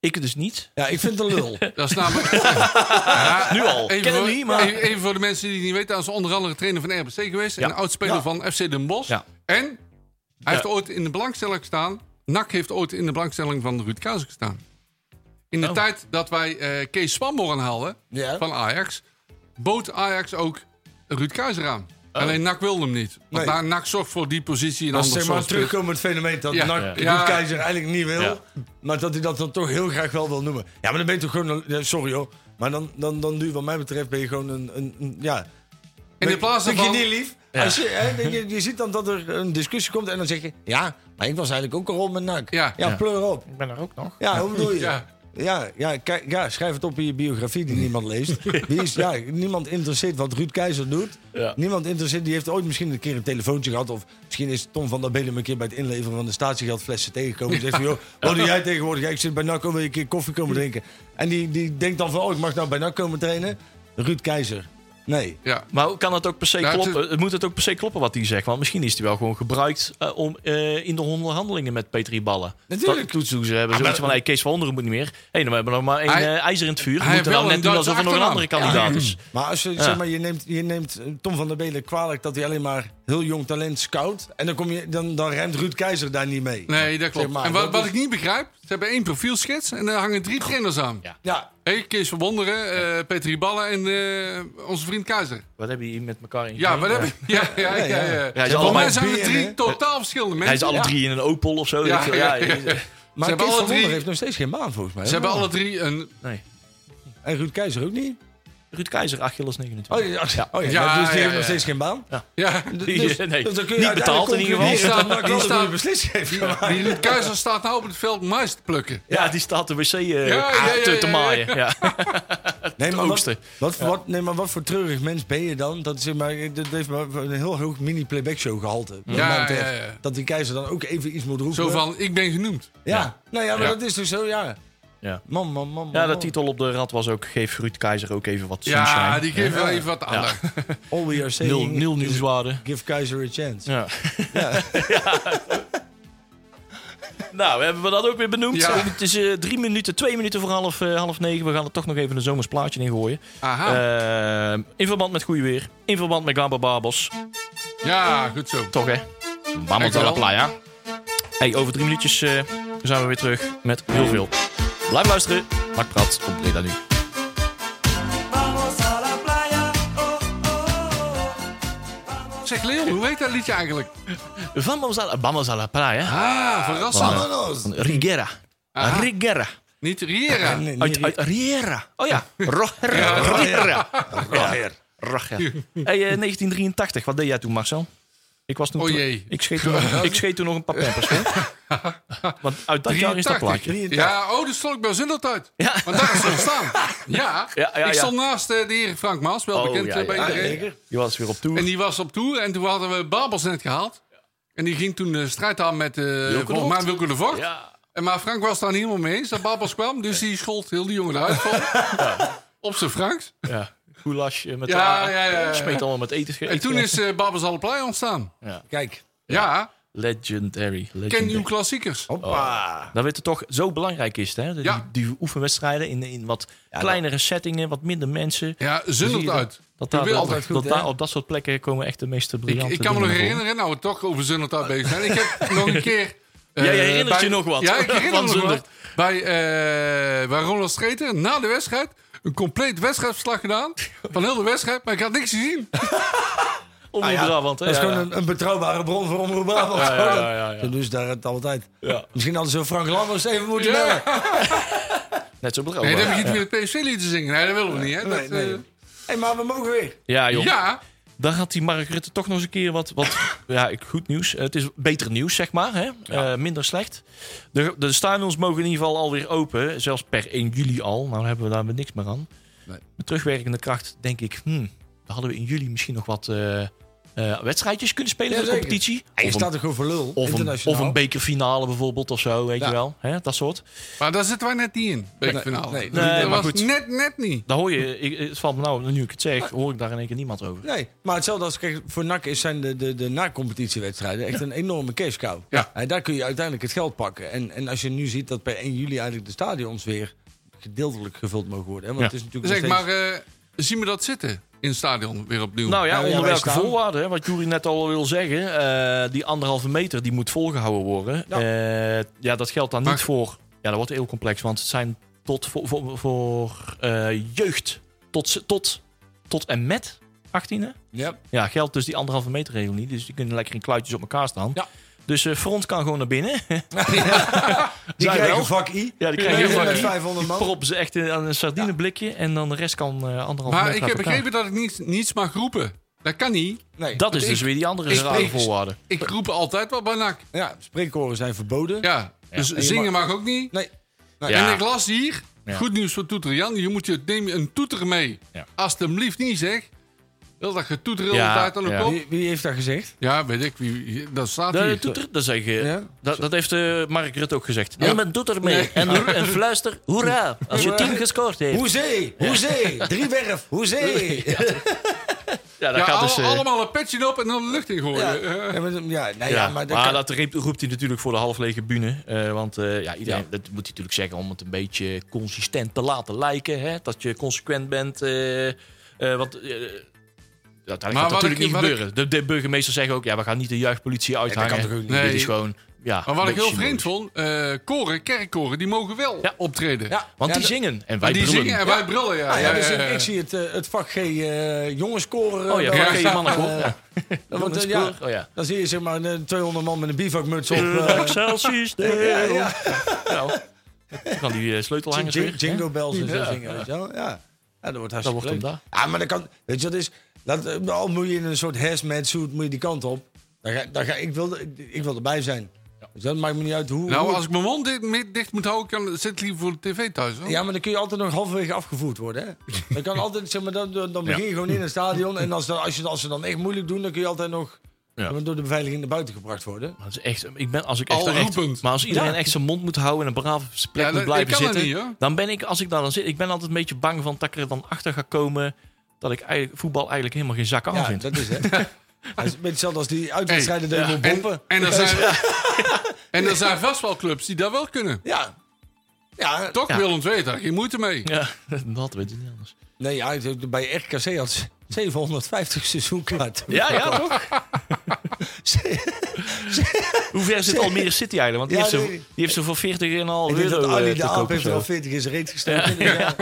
ik dus niet.
Ja, ik vind het een lul.
Dat is namelijk...
<laughs>
Ja,
Nu al.
Even
Ken hem
voor,
niet, maar...
even- even voor de mensen die het niet weten, hij is onder andere trainer van RBC geweest.
Ja.
En oudspeler
Ja.
van FC Den Bosch.
Ja.
En hij heeft ooit in de belangstelling staan. NAC heeft ooit in de belangstelling van Ruud Kaas gestaan. In de
Oh.
tijd dat wij eh, Kees Spanborn haalden
Ja.
van Ajax, bood Ajax ook Ruud Kaas eraan. Alleen NAC wilde hem niet. Want
Oh. Nee.
na- NAC zorgt voor die positie en <laughs>
Dat
anders
is zeg maar terugkomen het fenomeen dat
Ja.
NAC
Ja.
Ruud Keizer eigenlijk niet wil.
Ja.
Maar dat hij dat dan toch heel graag wel wil noemen. Ja, maar dan ben je toch gewoon... een- ja, Sorry hoor. Maar dan, dan, dan nu wat mij betreft ben je gewoon een... een, een- ja.
In de plaats
Vind je
daarvan...
niet lief?
Ja.
Als je, hè, je, je ziet dan dat er een discussie komt en dan zeg je... Ja, maar ik was eigenlijk ook al met NAC.
Ja.
ja,
Ja.
pleur op.
Ik ben er ook nog.
Ja, hoe bedoel je?
Ja.
Ja. Ja, kijk, ja, schrijf het op in je biografie die niemand leest. Die is, ja, niemand interesseert wat Ruud Keizer doet.
Ja.
Niemand interesseert, die heeft ooit misschien een keer een telefoontje gehad. Of misschien is Tom van der Belen een keer bij het inleveren van de statiegeldflessen tegengekomen. Die zegt van, joh, wat doe jij tegenwoordig? Ja, ik zit bij NAC, wil je een keer koffie komen drinken? En die, die denkt dan van, oh, ik mag nou bij NAC komen trainen. Ruud Keizer. Nee.
Ja.
Maar hoe kan het ook per se
Nou, het is-
kloppen? Het, moet het ook per se kloppen wat hij zegt. Want misschien is hij wel gewoon gebruikt eh, om eh, in de onderhandelingen met Petri Ballen.
Natuurlijk.
Dat- Toen ze hebben ze weet je van, hey, Kees van Onderen moet niet meer. Hé, dan hebben we nog maar één
Ah, Hij-
eh, ijzer in het vuur.
hij
We moeten
heeft
dan
wel
net
een
doen alsof er nog een
Duitse
andere kandidaat is.
Ah. Maar, als je, zeg maar je, neemt, je neemt eh, Tom van der Belen kwalijk dat hij alleen maar heel jong talent scout. En dan, kom je, dan, dan remt Ruud Keizer daar niet mee.
Nee, dat klopt.
Zeg maar,
en wat,
dat
wat
is-
ik niet begrijp, ze hebben één profielschets en daar hangen drie trainers aan.
Ja.
Ja,
Hey, Kees van Wonderen, eh, Petri Ballen en eh, onze vriend Keizer.
Wat hebben jullie met elkaar in
Ja, wat heb
je?
ik? Ja, ja, ja. ja, ja.
allebei
Volgens mij zijn
bier,
er drie
hè?
totaal verschillende mensen.
Hij is alle
Ja.
drie in een Opel of zo.
Ja,
weet je wel. Ja,
ja, ja.
Maar
Ze hebben
Kees
alle
van Wonder
drie-
heeft nog steeds geen baan volgens mij.
Ze
hè?
hebben alle drie een...
Nee.
En Ruud Keizer ook niet.
Ruud Keizer, Achilles 29.
Oh ja, oh,
Ja,
ja. dus die
ja,
heeft
ja, eh,
nog
ja.
steeds geen
<laughs>
baan.
Ja,
Die-
Dus-
nee.
dus dan kun je
niet betaald in ieder geval.
uiteindelijk <laughs>
Die
concluderen
staat-
dat Nakland
die
een
staat-
goede beslissing heeft gemaakt.
die Ruud Keizer staat nou op het veld mais te plukken.
Ja, die staat de wc eh,
ja, ja, ja,
te, te
ja.
maaien.
<laughs>
Ja.
Nee, maar wat,
oogsten.
wat, wat, nee, maar wat voor treurig mens ben je dan? Dat, zeg maar, dat heeft maar een heel hoog mini-playback show gehalte. wat
Ja,
mij betreft.
ja, ja.
Dat die keizer dan ook even iets moet roepen.
Zo van, ik ben genoemd.
Ja, nou ja, maar
Ja.
dat is dus zo, ja.
Ja.
Man, man, man.
ja,
man,
de
man.
titel op de rad was ook... Geef Ruud Keizer ook even wat sunshine.
Ja, die geeft wel even wat aandacht.
All we are saying
Nul, nul
is
nieuwswaarde.
give Keizer a chance.
Ja. <laughs> nou, hebben we dat ook weer benoemd.
Ja.
Eh, Het is eh, drie minuten, twee minuten voor half, eh, half negen. We gaan er toch nog even een zomers plaatje in gooien.
Aha.
Eh, in verband met goede weer. In verband met Gamba Babos.
Ja, goed zo.
Toch hè? Vamos a la
Dankjewel.
playa. Hey, over drie minuutjes eh, zijn we weer terug met heel veel. Blijf luisteren. Mark Prat op Breda Nu.
Zeg Leon, hoe heet dat liedje eigenlijk?
Vamos a la, vamos a la playa.
Ah, verrassend.
Van Riguera.
Aha.
Riguera.
Niet Riera.
Nee, nee,
Ah. Uit, uit Riera. Oh ja. Roger. Riera. Roger. Roger. Hey, eh, 1983, wat deed jij toen, Marcel? Ik was toen.
O Oh jee.
Ik scheet toen,
<laughs>
nog- ik scheet toen nog een paar pampers, hoor. Want uit dat jaar is dat
83.
plaatje.
Ja, oh, dus stond ik bij Zundert uit.
Ja.
Want daar is het
<laughs>
ontstaan. Ja.
Ja, ja,
ik
ja.
stond naast eh, de heer Frank Maas, wel
Oh,
bekend
ja,
eh, bij
ja, ja.
iedereen.
Die was weer op tour.
En die was op tour en toen hadden we Babels net gehaald. En die ging toen de strijd aan met eh
de
volgens mij
Vocht.
Wilco de Vocht.
Ja.
En maar Frank was daar niet helemaal mee eens dat Babels kwam. Dus die schold heel die jongen eruit van.
<laughs>
Op zijn Franks.
ja. Goulash eh, met
Ja,
de
ja, ja, ja.
Smeet allemaal met eten. ge-
En toen is eh Babels alle play ontstaan.
Kijk,
Ja,
Legendary.
ken uw
legendary.
klassiekers.
hoppa.
Dat weet het toch zo belangrijk is, hè? Die,
Ja.
die oefenwedstrijden in, in wat kleinere settingen, wat minder mensen.
Ja, Zundert uit.
Dat, daar,
Geweldig.
dat,
goed,
dat
hè?
daar op dat soort plekken komen echt de meeste
Ik,
briljante
ik kan me nog
dingen voor.
herinneren, nou we toch over Zundert uit bezig zijn. Ik heb nog
<laughs>
een keer... eh,
Jij herinnert
bij-
je nog wat <laughs>
Ja, ik herinner
van
me nog wat.
Zundert.
Bij, eh bij Ronald Streeter, na de wedstrijd, een compleet wedstrijdverslag gedaan. Van heel de wedstrijd, maar ik had niks gezien.
Om
Ah,
de
ja.
Brabant, hè?
Dat is
Ja,
gewoon
ja.
een, een betrouwbare bron voor Omroep Brabant.
ja, ja,
<laughs>
ja, ja.
Ze doen ze daar het altijd.
Ja.
Misschien hadden ze Frank Lammers even moeten
Ja.
bellen.
Net zo betrouwbaar.
Nee, dan heb ik niet meer het PSV liedje zingen. Nee, dat willen we niet, hè? Dat,
Nee, nee.
eh,
Hé, maar we mogen weer.
Ja, joh.
ja,
Dan gaat die Mark Rutte toch nog eens een keer wat,
<coughs>
wat ja, ik- goed nieuws. Eh, het is beter nieuws, zeg maar. Hè? Eh, minder slecht. De, de stadions mogen in ieder geval alweer open. Zelfs per 1 juli al. Nou hebben we daar weer niks meer aan.
Nee.
Met terugwerkende kracht denk ik... Hmm, dan hadden we in juli misschien nog wat eh, eh, wedstrijdjes kunnen spelen
Ja,
voor de
zeker.
competitie.
Je
Of een,
staat toch gewoon voor lul,
of, een,
internationaal.
of een bekerfinale bijvoorbeeld of zo, weet
Ja.
je wel. Hè? Dat soort.
Maar daar zitten wij net niet in, bij het
Nee,
finale.
nee,
dat
nee,
was
maar goed.
net, net niet.
Daar hoor je, ik, het valt me nou, nu ik het
Ah.
zeg, hoor ik daar in één keer niemand over.
Nee, maar hetzelfde als kijk, voor NAC is zijn de, de, de na-competitiewedstrijden echt een enorme cash cow.
Ja.
En daar kun je uiteindelijk het geld pakken. En, en als je nu ziet dat per 1 juli eigenlijk de stadions weer gedeeltelijk gevuld mogen worden. Hè? Want
Ja.
het is natuurlijk
Zeg
nog
maar,
steeds-
eh, zien we dat zitten in het stadion weer opnieuw?
Nou ja,
Nou ja,
onder
wij
welke
staan.
voorwaarden? hè? Wat Jury net al wil zeggen, eh, die anderhalve meter die moet volgehouden worden.
Ja.
Ja, ja dat geldt dan niet
Maar-
voor. Ja, dat wordt heel complex, want het zijn tot voor, voor, voor, eh, jeugd tot, ze- tot, tot en met 18e.
ja.
Ja, geldt dus die anderhalve meter regel niet. Dus die kunnen lekker in kluitjes op elkaar staan.
Ja.
Dus eh, front kan gewoon naar binnen.
Die
Zij
krijgen
wel.
vak I.
<laughs> Ja, die
Ja,
krijgen
met
heel vaak
500 man.
Prop ze echt in aan een sardineblikje en dan de rest kan eh anderhalve meter
maar
uit
ik heb
elkaar.
begrepen dat ik niets, niets mag roepen. Dat kan niet.
Nee.
Dat is
Ik-
dus weer die andere
ik-
rare
ik-
voorwaarden.
Ik roep altijd wel bij NAC.
Ja, spreekkoren zijn verboden.
Ja, dus
en je
zingen mag ook niet.
Nee.
Ja.
En Nou, ik las hier,
Ja.
goed nieuws voor toeter Jan, je moet je, neem je een toeter mee.
Ja.
Alsjeblieft niet zeg. Wil dat je toeter de hele
Ja,
tijd aan de
ja.
kop?
Wie, wie heeft dat gezegd?
Ja, weet ik. Wie, dat staat
Dat,
hier.
toeter, Eh, dat, zeg, je.
Ja?
dat, dat heeft eh, Mark Rutte ook gezegd.
Ja.
Niemand doet er mee.
Nee.
En, roer- en fluister, hoera, als je
Hoera.
team gescoord heeft.
Hoezee! Hoezee! Driewerf! Hoezee! Ja,
Ja, dat
Ja,
gaat
al-
dus... eh,
allemaal een petje op en dan de lucht in gooien. Eh,
maar, <laughs> ja, nou
ja,
ja, maar dat
maar
kan-
dat riep- roept hij natuurlijk voor de halflege bühne. eh, want eh, ja, iedereen, dat moet hij natuurlijk zeggen om het een beetje consistent te laten lijken. Hè? Dat je consequent bent. eh, eh, want eh, ja, dat gaat
wat
natuurlijk
ik-
niet
wat
gebeuren. De, de burgemeester zegt ook, ja, we gaan niet de juichpolitie
kan
uithangen.
toch ook niet?
Dit
Nee.
is gewoon... Ja,
Maar wat ik
een
heel
beetje
vreemd vond, eh, koren, kerkkoren, die mogen wel
Ja.
optreden.
ja,
Want
ja,
die
dat-
zingen en wij
Maar die
brullen.
zingen en wij brullen, ja.
Ah, ja,
Ja,
dus
ja,
ik,
ja.
ik zie het, eh, het vak G eh jongenskoren. eh,
Oh ja,
wel
ja,
oké,
gaan
ja.
staan,
<laughs>
mannen
eh,
ja.
dan wordt, eh,
Jongenskoor,
ja,
oh ja.
Dan zie je zeg maar een 200 man met een bivakmuts op. eh,
Excelsius
ja,
Deo.
ja.
Nou, dan gaan die eh,
Jing-
sleutelhangers
jing-
weer. hè?
Jingle bells en zo
Ja.
zingen, weet je wel. Ja, Ja, dat wordt
Dat
hartstikke
wordt hem
leuk.
daar.
Ja, maar dat kan... Weet je wat is? Dat, eh, al moet je in een soort hazmat suit moet je die kant op. Dan ga, dan ga, ik, wil, ik- ik wil erbij zijn. Dus dat maakt me niet uit hoe...
Nou,
hoe-
als ik mijn mond dicht, dicht moet houden, kan, zit ik liever voor de tv thuis. Hoor.
Oh. Ja, maar dan kun je altijd nog halverwege afgevoerd worden. Hè? Dan, kan altijd, zeg maar, dan, dan dan begin je gewoon in het stadion. En als, dan- als, je, als ze dan echt moeilijk doen, dan kun je altijd nog
Ja. Oh,
zeg maar, door de beveiliging naar buiten gebracht worden.
Maar dat is echt, ik ben, als ik echt,
Al roepend.
echt maar als iedereen
Ja.
echt zijn mond moet houden en een braaf plek
Ja, dat-
moet blijven
ik kan dat
zitten,
niet, hoor.
dan ben ik, als ik daar dan zit, ik ben altijd een beetje bang van dat ik er dan achter ga komen dat ik eigenlijk, voetbal eigenlijk helemaal geen zak aan
Ja,
vind.
dat
<laughs>
is het. Dat is een beetje hetzelfde als die uitwedstrijden dat je wil
En,
bompen.
en, er zijn, en er zijn vast wel clubs die dat wel kunnen.
Ja. Ja,
Toch
Ja.
wil ons weten, geen moeite mee.
Ja, <laughs> dat weet ik niet anders.
nee, ja, ik- bij RKC had ze 750 seizoenkaart.
Ja, ja, toch? <laughs> Hoe ver zit Almere City eigenlijk? Want die,
Ja,
heeft, ze,
nee.
die heeft ze voor 40,5
Ik denk dat
euro
Ali
eh,
de
te
Aap
kopen.
heeft er
zo.
al 40 in zijn reet gestoken. Ja.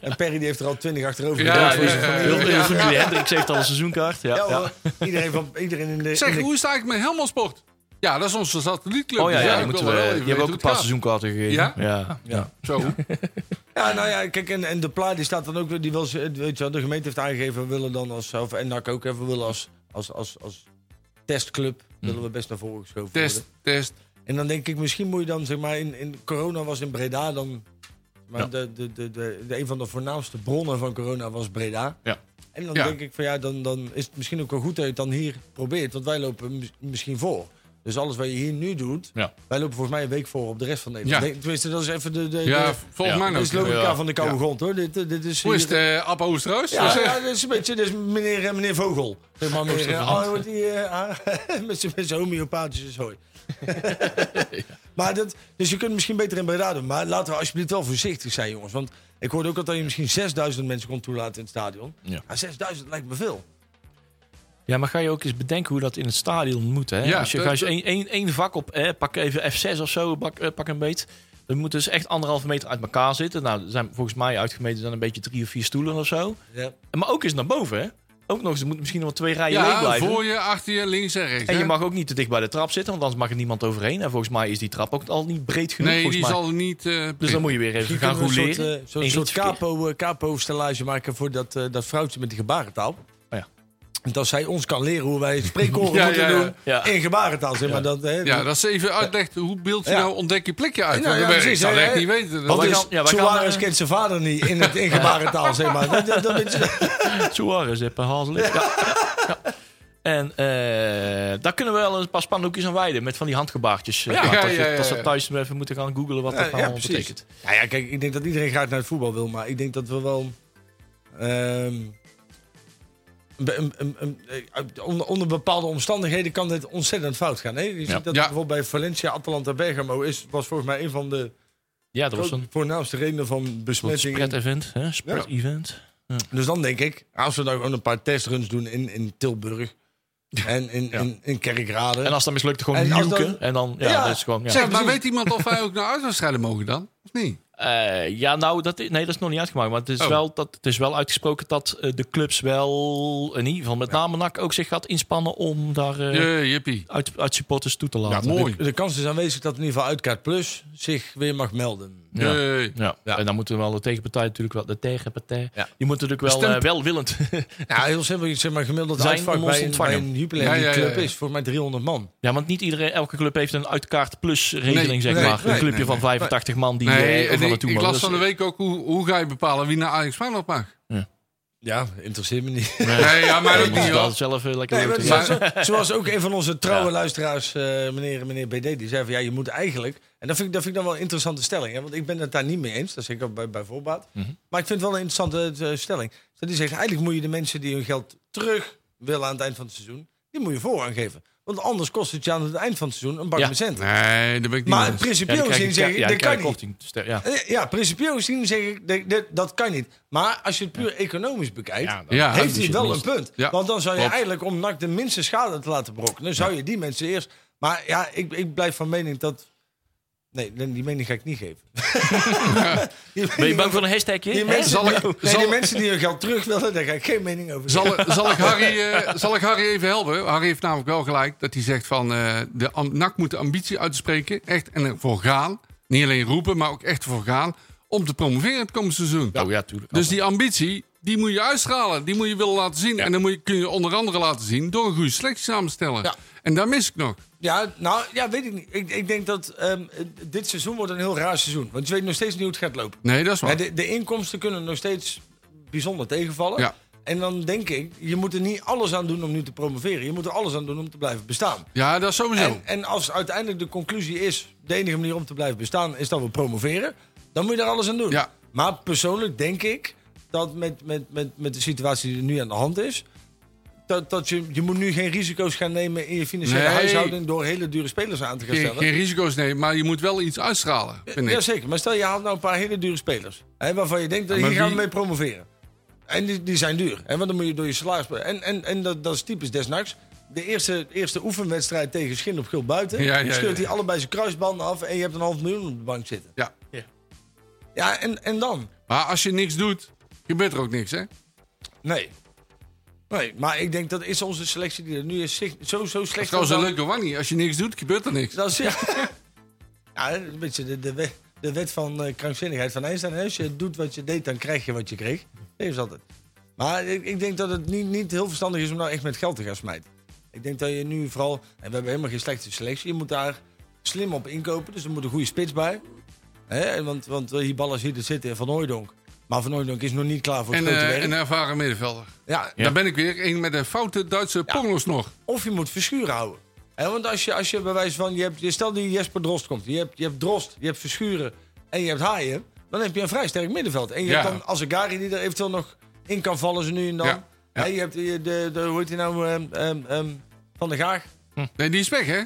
En Perry die heeft er al 20 achterover
Ja,
gedaan
Ja,
voor
ja,
zijn
ja,
familie.
Heel heel familie Hendricks heeft al een seizoenkaart. Ja,
Ja,
ja.
hoor. Iedereen, van, iedereen in de... in
Zeg,
de-
hoe is het eigenlijk met Helmond Sport? Ja, dat is onze satellietclub.
Oh ja,
dus
ja, die,
ik
moeten
wil
we,
wel
die
even
hebben ook
weten
een paar
hoe
seizoenkaarten gegeven.
Ja?
Ja.
Ja.
het gaat. Zo.
Ja, nou ja, kijk, en, en de plaat die staat dan ook weer, die wil, ze- weet je wel, de gemeente heeft aangegeven, we willen dan als, of, en NAC ook, hè, we willen als, als, als, als testclub, willen we best naar voren geschoven
Mm. Test,
worden.
test.
En dan denk ik, misschien moet je dan, zeg maar, in, in corona was in Breda dan, maar
Ja.
de, de, de, de, de- een van de voornaamste bronnen van corona was Breda.
Ja.
En dan
Ja.
denk ik van ja, dan, dan is het misschien ook wel goed dat je het dan hier probeert, want wij lopen mis- misschien voor. Dus alles wat je hier nu doet,
Ja.
wij lopen volgens mij een week voor op de rest van Nederland.
Ja.
Nee, Tenminste, dat is even de... de
Ja,
de-
volgens
Ja.
mij
dit is
ook.
logica
Ja.
van de koude
Ja.
grond hoor. Dit, dit, dit is
Hoe is het,
hier-
eh, Abba Oosterhuis?
ja,
Dus, eh,
ja, dit is een beetje dit is meneer, eh, meneer Vogel. Zeg maar meneer, eh, oh, wordt die, eh, ah, <laughs> met zijn met zijn homeopathische
<laughs>
zooi. maar dat, dus je kunt misschien beter in Breda doen. Maar laten we alsjeblieft wel voorzichtig zijn, jongens. Want ik hoorde ook al dat je misschien 6000 mensen kon toelaten in het stadion.
Ja.
Maar 6000 lijkt me veel.
Ja, maar ga je ook eens bedenken hoe dat in het stadion moet. Hè?
Ja,
als je
dat-
ga je één, één, één vak op, hè, pak even F6 of zo, pak, eh, pak een beet. Dan moeten dus echt anderhalve meter uit elkaar zitten. Nou, er zijn volgens mij uitgemeten dan een beetje drie of vier stoelen of zo. En Maar ook eens naar boven, hè? Ook nog eens, er moeten misschien nog wel twee rijen leeg
ja,
blijven.
voor je, achter je, links en rechts.
En je
hè?
mag ook niet te dicht bij de trap zitten, want anders mag er niemand overheen. En volgens mij is die trap ook al niet breed genoeg.
Nee,
volgens
die
mij.
zal niet... eh,
Dus dan moet je weer even
Misschien
gaan
kunnen we een
roleren.
soort, eh, zo'n
in
soort
rietverkeer.
capo, eh, capo-stellage maken voor dat, eh, dat vrouwtje met die gebarentaal.
Oh ja.
dat zij ons kan leren hoe wij spreekkoren
Ja,
moeten
ja, ja.
doen
<laughs> Ja.
in gebarentaal. Zeg maar. dat, hè,
Ja, dat ze even uitlegt hoe beeld je
Ja.
nou ontdek je plekje uit.
Ja,
Want
ja,
dat ben ik
precies,
zou
hè,
het echt
hè.
niet weten.
Want
wij
dus
gaan- ja, wij
Suarez
gaan, eh,
kent zijn vader niet in, het, in
<laughs>
gebarentaal, zeg maar. Dat, dat, dat,
Suarez heb Hazelit. Ja. ja. En eh, daar kunnen we wel een paar spandoekjes aan wijden. Met van die handgebaartjes. eh,
Ja,
maar
ja,
dat, je-
ja, ja,
dat ze
ja.
thuis even moeten gaan googlen wat dat nou allemaal betekent.
Ja, ja, kijk, ik denk dat iedereen graag naar het voetbal wil, maar ik denk dat we wel. ehm, be- een- een- een- eh, onder, onder bepaalde omstandigheden kan dit ontzettend fout gaan. Hè? Je ziet
Ja.
dat
Ja.
bijvoorbeeld bij Valencia, Atalanta, Bergamo is, was volgens mij een van de
Ja, dat was
groot-
een
voornaamste redenen van
soort
besmetting.
spread-event. hè, Spread-event.
Dus dan denk ik, als we dan gewoon een paar testruns doen in, in Tilburg en in, in, in Kerkrade.
En als dat mislukt, gewoon
En als
nuken.
dan-
En dan, ja,
Ja.
dat is gewoon... Ja.
Zeg, maar weet iemand of wij ook naar uitwedstrijden mogen dan? Of niet?
Eh, ja, nou, dat is, nee, dat is nog niet uitgemaakt. Maar het is,
Oh.
wel, dat, het is wel uitgesproken dat eh, de clubs wel, in ieder geval met name NAC, ook zich gaat inspannen om daar eh,
Je, jippie.
uit, uit supporters toe te laten.
mooi.
de, de kans is aanwezig dat in ieder geval Uitkaart Plus zich weer mag melden.
Ja.
Jee.
Ja.
Ja.
en dan moeten wel de tegenpartij natuurlijk wel, de tegenpartij,
Ja.
die moet natuurlijk wel
Stem-
eh, welwillend.
Ja, heel simpel. Je zeg maar gemiddeld
Zijn
uitvak
om ons
bij een,
ontvangen.
bij een jubileum
Ja, ja, ja,
club
ja.
is voor mij 300 man.
ja, want niet iedereen, elke club heeft een uitkaart plus regeling,
Nee,
zeg
nee,
maar.
nee,
een clubje
nee,
van 85 man die
Nee,
eh,
en
overal
ik,
naartoe
ik
mogen.
las van de
Dus-
week ook hoe, hoe ga je bepalen wie naar Ajax Feyenoord mag.
Ja, interesseert me niet.
<laughs> Nee,
<laughs>
ja, maar
Ja,
ook
je moet
niet
het wel
hoor.
zelf eh, lekker
Nee, maar
weten.
zo- zo- zoals ook een van onze trouwe luisteraars, eh, meneer, meneer BD, die zei van ja, je moet eigenlijk. En dat vind ik, dat vind ik dan wel een interessante stelling. Hè, want ik ben het daar niet mee eens. Dat zeg ik ook bij, bij voorbaat.
Mhm.
Maar ik vind het wel een interessante eh, stelling. Dat die zegt, eigenlijk moet je de mensen die hun geld terug willen aan het eind van het seizoen, die moet je voorrang geven. Want anders kost het je aan het eind van het seizoen een bak
Ja.
met cent.
Nee, daar ben ik niet mee
Maar
eens.
Ja,
principieel
dan krijg je
gezien zeg
ka-
ik,
ja,
dat
dan krijg je
kan niet.
korting. Dus de- Ja,
Eh, Ja, principieel gezien zeg ik, dat, dat, dat kan niet. Maar als je het puur economisch bekijkt,
Ja,
Ja,
heeft
dat
hij
is
wel
het
een punt.
Ja,
Want dan zou je
klopt.
eigenlijk, om NAC de minste schade te laten brokkelen, zou je die mensen eerst... Maar ja, ik, ik blijf van mening dat... Nee, nee, die mening ga ik niet
<laughs>
geven. Die
Ben je
mening
bang voor een
die
hashtagje? Hè?
mensen,
Zal ik-
die, nee,
zal-
die mensen die hun geld terug willen, daar ga ik geen mening over geven. <laughs>
Zal, zal, ik Harry, eh, zal ik Harry even helpen? Harry heeft namelijk wel gelijk dat hij zegt van... eh, de am- NAC moet de ambitie uitspreken. Echt en ervoor gaan. Niet alleen roepen, maar ook echt ervoor gaan. Om te promoveren het komende seizoen.
Oh ja, tuurlijk.
Dus die ambitie, die moet je uitstralen. Die moet je willen laten zien. En dan moet je, kun je onder andere laten zien door een goede selectie samen te stellen.
Ja.
En daar mis ik nog.
Ja, nou, ja, weet ik niet. Ik, ik denk dat ehm, dit seizoen wordt een heel raar seizoen. Want je weet nog steeds niet hoe het gaat lopen.
Nee, dat is
Ja,
waar.
de, de inkomsten kunnen nog steeds bijzonder tegenvallen.
Ja.
En dan denk ik, je moet er niet alles aan doen om nu te promoveren. Je moet er alles aan doen om te blijven bestaan.
Ja, dat is sowieso.
En, en als uiteindelijk de conclusie is, de enige manier om te blijven bestaan is dat we promoveren, dan moet je daar alles aan doen.
Ja.
Maar persoonlijk denk ik dat met, met, met, met de situatie die er nu aan de hand is, dat, dat je, je moet nu geen risico's gaan nemen in je financiële
Nee.
huishouding door hele dure spelers aan te gaan
geen,
stellen.
geen risico's nemen, maar je moet wel iets uitstralen. Vind ik.
Jazeker, maar stel je haalt nou een paar hele dure spelers. Hè, waarvan je denkt, dat
Ja, maar
hier gaan we
wie-
mee promoveren. En die, die zijn duur. Hè, want dan moet je door je salaris... En, en, en dat, dat is typisch desnachts. De eerste, eerste oefenwedstrijd tegen Schin op Gul buiten.
Ja, ja, ja.
scheurt hij allebei zijn kruisbanden af en je hebt een half miljoen op de bank zitten.
Ja.
Ja, en, en dan?
Maar als je niks doet, gebeurt er ook niks, hè?
Nee. Nee, maar ik denk dat is onze selectie die er nu is zich- zo, zo
Dat is
slecht.
trouwens een
dan-
leuke wannie. Als je niks doet, gebeurt er niks.
Dat is, ja. <laughs> ja, een beetje de, de, wet, de wet van eh, krankzinnigheid van Einstein. hè. Als je doet wat je deed, dan krijg je wat je kreeg. Dat is altijd. Maar ik, ik denk dat het niet, niet heel verstandig is om nou echt met geld te gaan smijten. Ik denk dat je nu vooral... En we hebben helemaal geen slechte selectie. Je moet daar slim op inkopen. Dus er moet een goede spits bij. Hè, en want, want eh, die ballers hier zitten in Van Hooijdonk. Maar Van Hooijdonk is nog niet klaar voor het
En
grote
eh,
werk.
een ervaren middenvelder.
ja,
Daar ben ik weer. Eén met een foute Duitse pongels nog.
Of je moet verschuren houden. Hè, want als je, als je bij wijze van... Je hebt, je- stel die Jesper Drost komt. Je hebt, je hebt Drost, je hebt verschuren en je hebt haaien. Dan heb je een vrij sterk middenveld. En je
Ja.
hebt dan Azegari die er eventueel nog in kan vallen ze nu en dan.
Ja, ja.
Hè, je hebt je- de, de, hoe heet hij nou? ehm, ehm, ehm, van de Gaag.
Nee, die is weg, hè?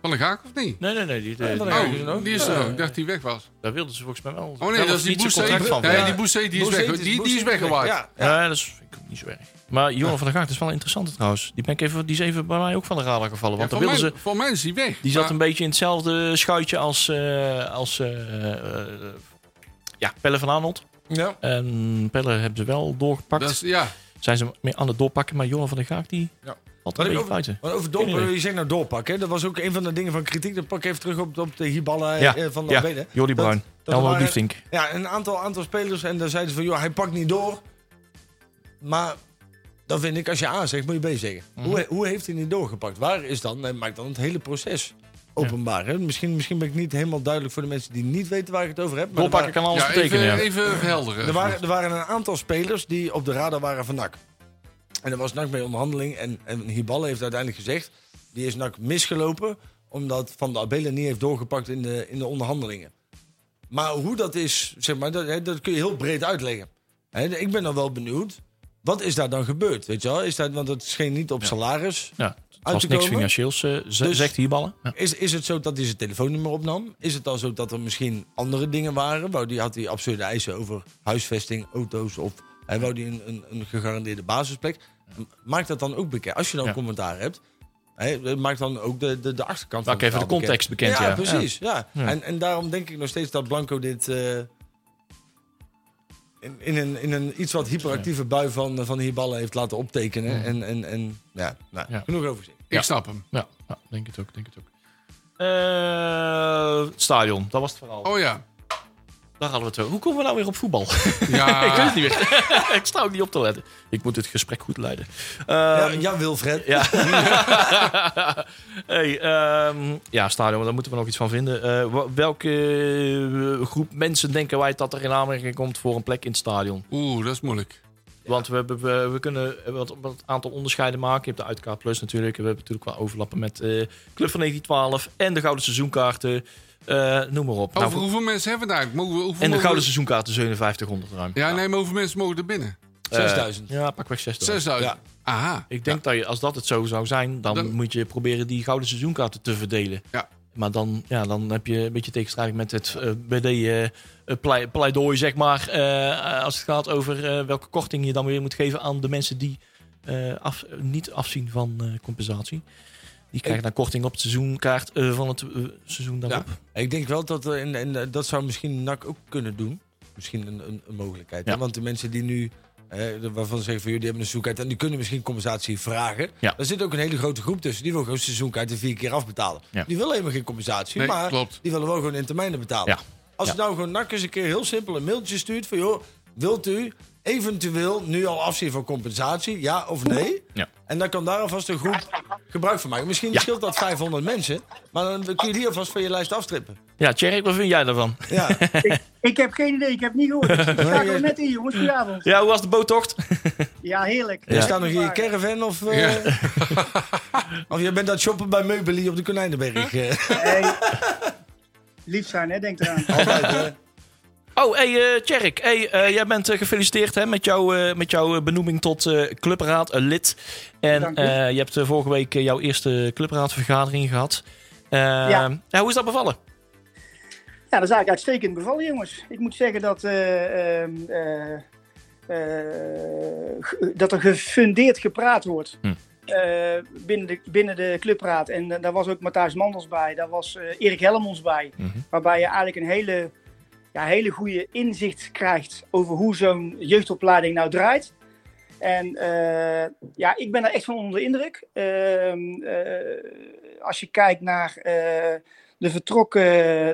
Van de Gaak of niet?
Nee, nee, nee. Die, die-
Ja, dan-
Oh,
is er ook.
die is er
Ja.
ook. Ik dacht die weg was.
daar wilden ze volgens mij wel.
Oh nee,
daar
dat
was
is die
niet zo'n
Bousset.
contract van.
Nee,
Ja.
die Bousset, die is
Boezet
weg. Die- die is weggewaaid.
Ja, ja.
Ja, dat is vind ik ook niet zo erg. Maar Johan van der Gaag is wel interessant trouwens. Die, ben ik even, die is even bij mij ook van de radar gevallen. Want
Ja,
daar
voor, mij,
wilden ze,
voor mij is die weg.
die zat
Maar-
een beetje in hetzelfde schuitje als, eh, als eh, eh, eh, ja, Pelle van Arnold.
ja.
En Pelle hebben ze wel doorgepakt.
dat is, ja.
Zijn ze meer aan het doorpakken. Maar Johan van der Gaag die
Ja.
valt een
Wat ik
beetje
over,
buiten.
wat over
Geen
doorpakken,
idee.
je zegt nou doorpakken. hè. Dat was ook een van de dingen van kritiek. Dat pak ik even terug op, op de Hiballa eh,
Ja,
eh, van de
ja.
Albeda.
Jordi
Dat-
Bruin,
dat er
Elmo
waren-
Liefdink.
Ja, een aantal, aantal spelers. En daar zeiden ze van, joh, hij pakt niet door. Maar dan vind ik, als je A zegt, moet je B zeggen. hoe, hoe heeft hij niet doorgepakt? Waar is dan, en maakt dan het hele proces openbaar. Hè? Misschien, misschien ben ik niet helemaal duidelijk voor de mensen die niet weten waar ik het over heb. Maar er
Doorpakken
waren-
kan alles
Ja,
betekenen.
even,
ja.
even verhelderen.
er waren, er waren een aantal spelers die op de radar waren van NAC. En er was NAC mee onderhandeling. En, en Hiballa heeft uiteindelijk gezegd, die is NAC misgelopen... omdat Van de Abelen niet heeft doorgepakt in de, in de onderhandelingen. Maar hoe dat is, zeg maar, dat, hè, dat kun je heel breed uitleggen. Hè, ik ben dan wel benieuwd, wat is daar dan gebeurd? Weet je wel? Is dat, want het scheen niet op salaris.
Ja, het
uit
was
te
niks
komen.
financieels, eh, z-
Dus-
zegt Hierballen. Ja.
Is, is het zo dat hij zijn telefoonnummer opnam? Is het dan zo dat er misschien andere dingen waren? Wou die, had hij absurde eisen over huisvesting, auto's of hij wou die een, een, een gegarandeerde basisplek? M- Maak dat dan ook bekend. Als je dan
Ja.
commentaar hebt, hè, maak dan ook de, de, de achterkant
Maak
van het
even de
verhaal
context bekend, ja.
precies. Ja.
Ja.
En, en daarom denk ik nog steeds dat Blanco dit... eh, in, in, een, in een iets wat hyperactieve bui van, van Hiballa heeft laten optekenen. En, en, en ja, nou,
Ja.
genoeg overzicht.
Ik
Ja.
snap hem.
Ja, ja, denk het ook, denk het ook. Eh, het stadion, dat was het verhaal.
Oh ja.
Daar hadden we het over. Hoe komen we nou weer op voetbal?
Ja,
<laughs> ik weet het niet meer. ik sta ook niet op te letten. Ik moet dit gesprek goed leiden.
Ja,
Ehm,
ja, Wilfred.
hey, ehm, ja, stadion, daar moeten we nog iets van vinden. Eh, wa- welke eh, groep mensen denken wij dat er in aanmerking komt voor een plek in het stadion?
Oeh, dat is moeilijk.
Nou, Want we, hebben- we, we kunnen eh, wat, wat aantal onderscheiden maken. Je hebt de uitkaart plus natuurlijk. We hebben natuurlijk wel overlappen met eh, Club van 1912 en de gouden seizoenkaarten. Eh, noem maar op.
Over
Nou,
hoeveel mensen hebben we het eigenlijk? Mogen we- hoeveel
en de
mogen we-
gouden seizoenkaarten 5700 ruim.
Ja, nee, maar hoeveel mensen mogen er binnen?
Eh,
6000.
ja, pakweg 6000.
6000. Aha.
Ik denk dat je, als dat het zo zou zijn, dan,
Dan-
moet je proberen die gouden seizoenkaarten te verdelen.
Ja.
Maar dan, ja, dan heb je een beetje tegenstrijdig met het eh, BD eh, eh, plei- pleidooi, zeg maar. eh, als het gaat over eh, welke korting je dan weer moet geven aan de mensen die eh, af, niet afzien van eh, compensatie. Die krijgen dan korting op het seizoenkaart eh, van het eh, seizoen daarop.
Ik denk wel dat, er- en, en eh, dat zou misschien NAC ook kunnen doen. Misschien een, een, een mogelijkheid. hè?
Ja.
Want de mensen die nu, eh, de- waarvan ze zeggen van jullie hebben een seizoenkaart... en die kunnen misschien compensatie vragen.
Ja.
Daar zit ook een hele grote groep tussen. Die wil gewoon seizoenkaart in vier keer afbetalen.
Ja.
Die willen helemaal geen compensatie,
Nee,
maar
klopt.
die willen wel gewoon in termijnen betalen.
Ja.
Als
Ja.
nou gewoon NAC eens een keer heel simpel een mailtje stuurt van... joh, wilt u eventueel nu al afzien van compensatie, ja of nee?
Ja.
En dan kan daar alvast een groep gebruik van maken. Misschien
Ja.
scheelt dat 500 mensen, maar dan kun je die alvast van je lijst afstrippen.
Ja, Tjerk, wat vind jij daarvan?
Ja,
ik, ik heb geen idee, ik heb niet gehoord. Ik sta er net in, jongens, vanavond.
Ja, hoe was de boottocht?
Ja, heerlijk.
je staat nog in je caravan of, eh, of je bent dat shoppen bij Meubelie op de Konijnenberg. eh. <laughs>
Hey. Lief zijn, hè, denk eraan.
Altijd, hè.
Oh, hey, eh, Tjerk, hey, eh, jij bent eh, gefeliciteerd hè, met, jou, eh, met jouw eh, benoeming tot eh, clubraad, eh, lid. En
Dank u.
eh, je hebt eh, vorige week eh, jouw eerste clubraadvergadering gehad. Eh, ja.
Ja.
Hoe is dat bevallen?
Ja, dat is eigenlijk uitstekend bevallen, jongens. Ik moet zeggen dat, eh, ehm, eh, eh, ge- dat er gefundeerd gepraat wordt.
Hm.
eh, binnen, de, binnen de clubraad. En eh, daar was ook Matthijs Manders bij. Daar was eh, Erik Helmons bij.
Mhm.
Waarbij je eigenlijk een hele, ja, hele goede inzicht krijgt... over hoe zo'n jeugdopleiding nou draait. En eh, ja, ik ben er echt van onder de indruk. Ehm, eh, als je kijkt naar... eh, de vertrokken,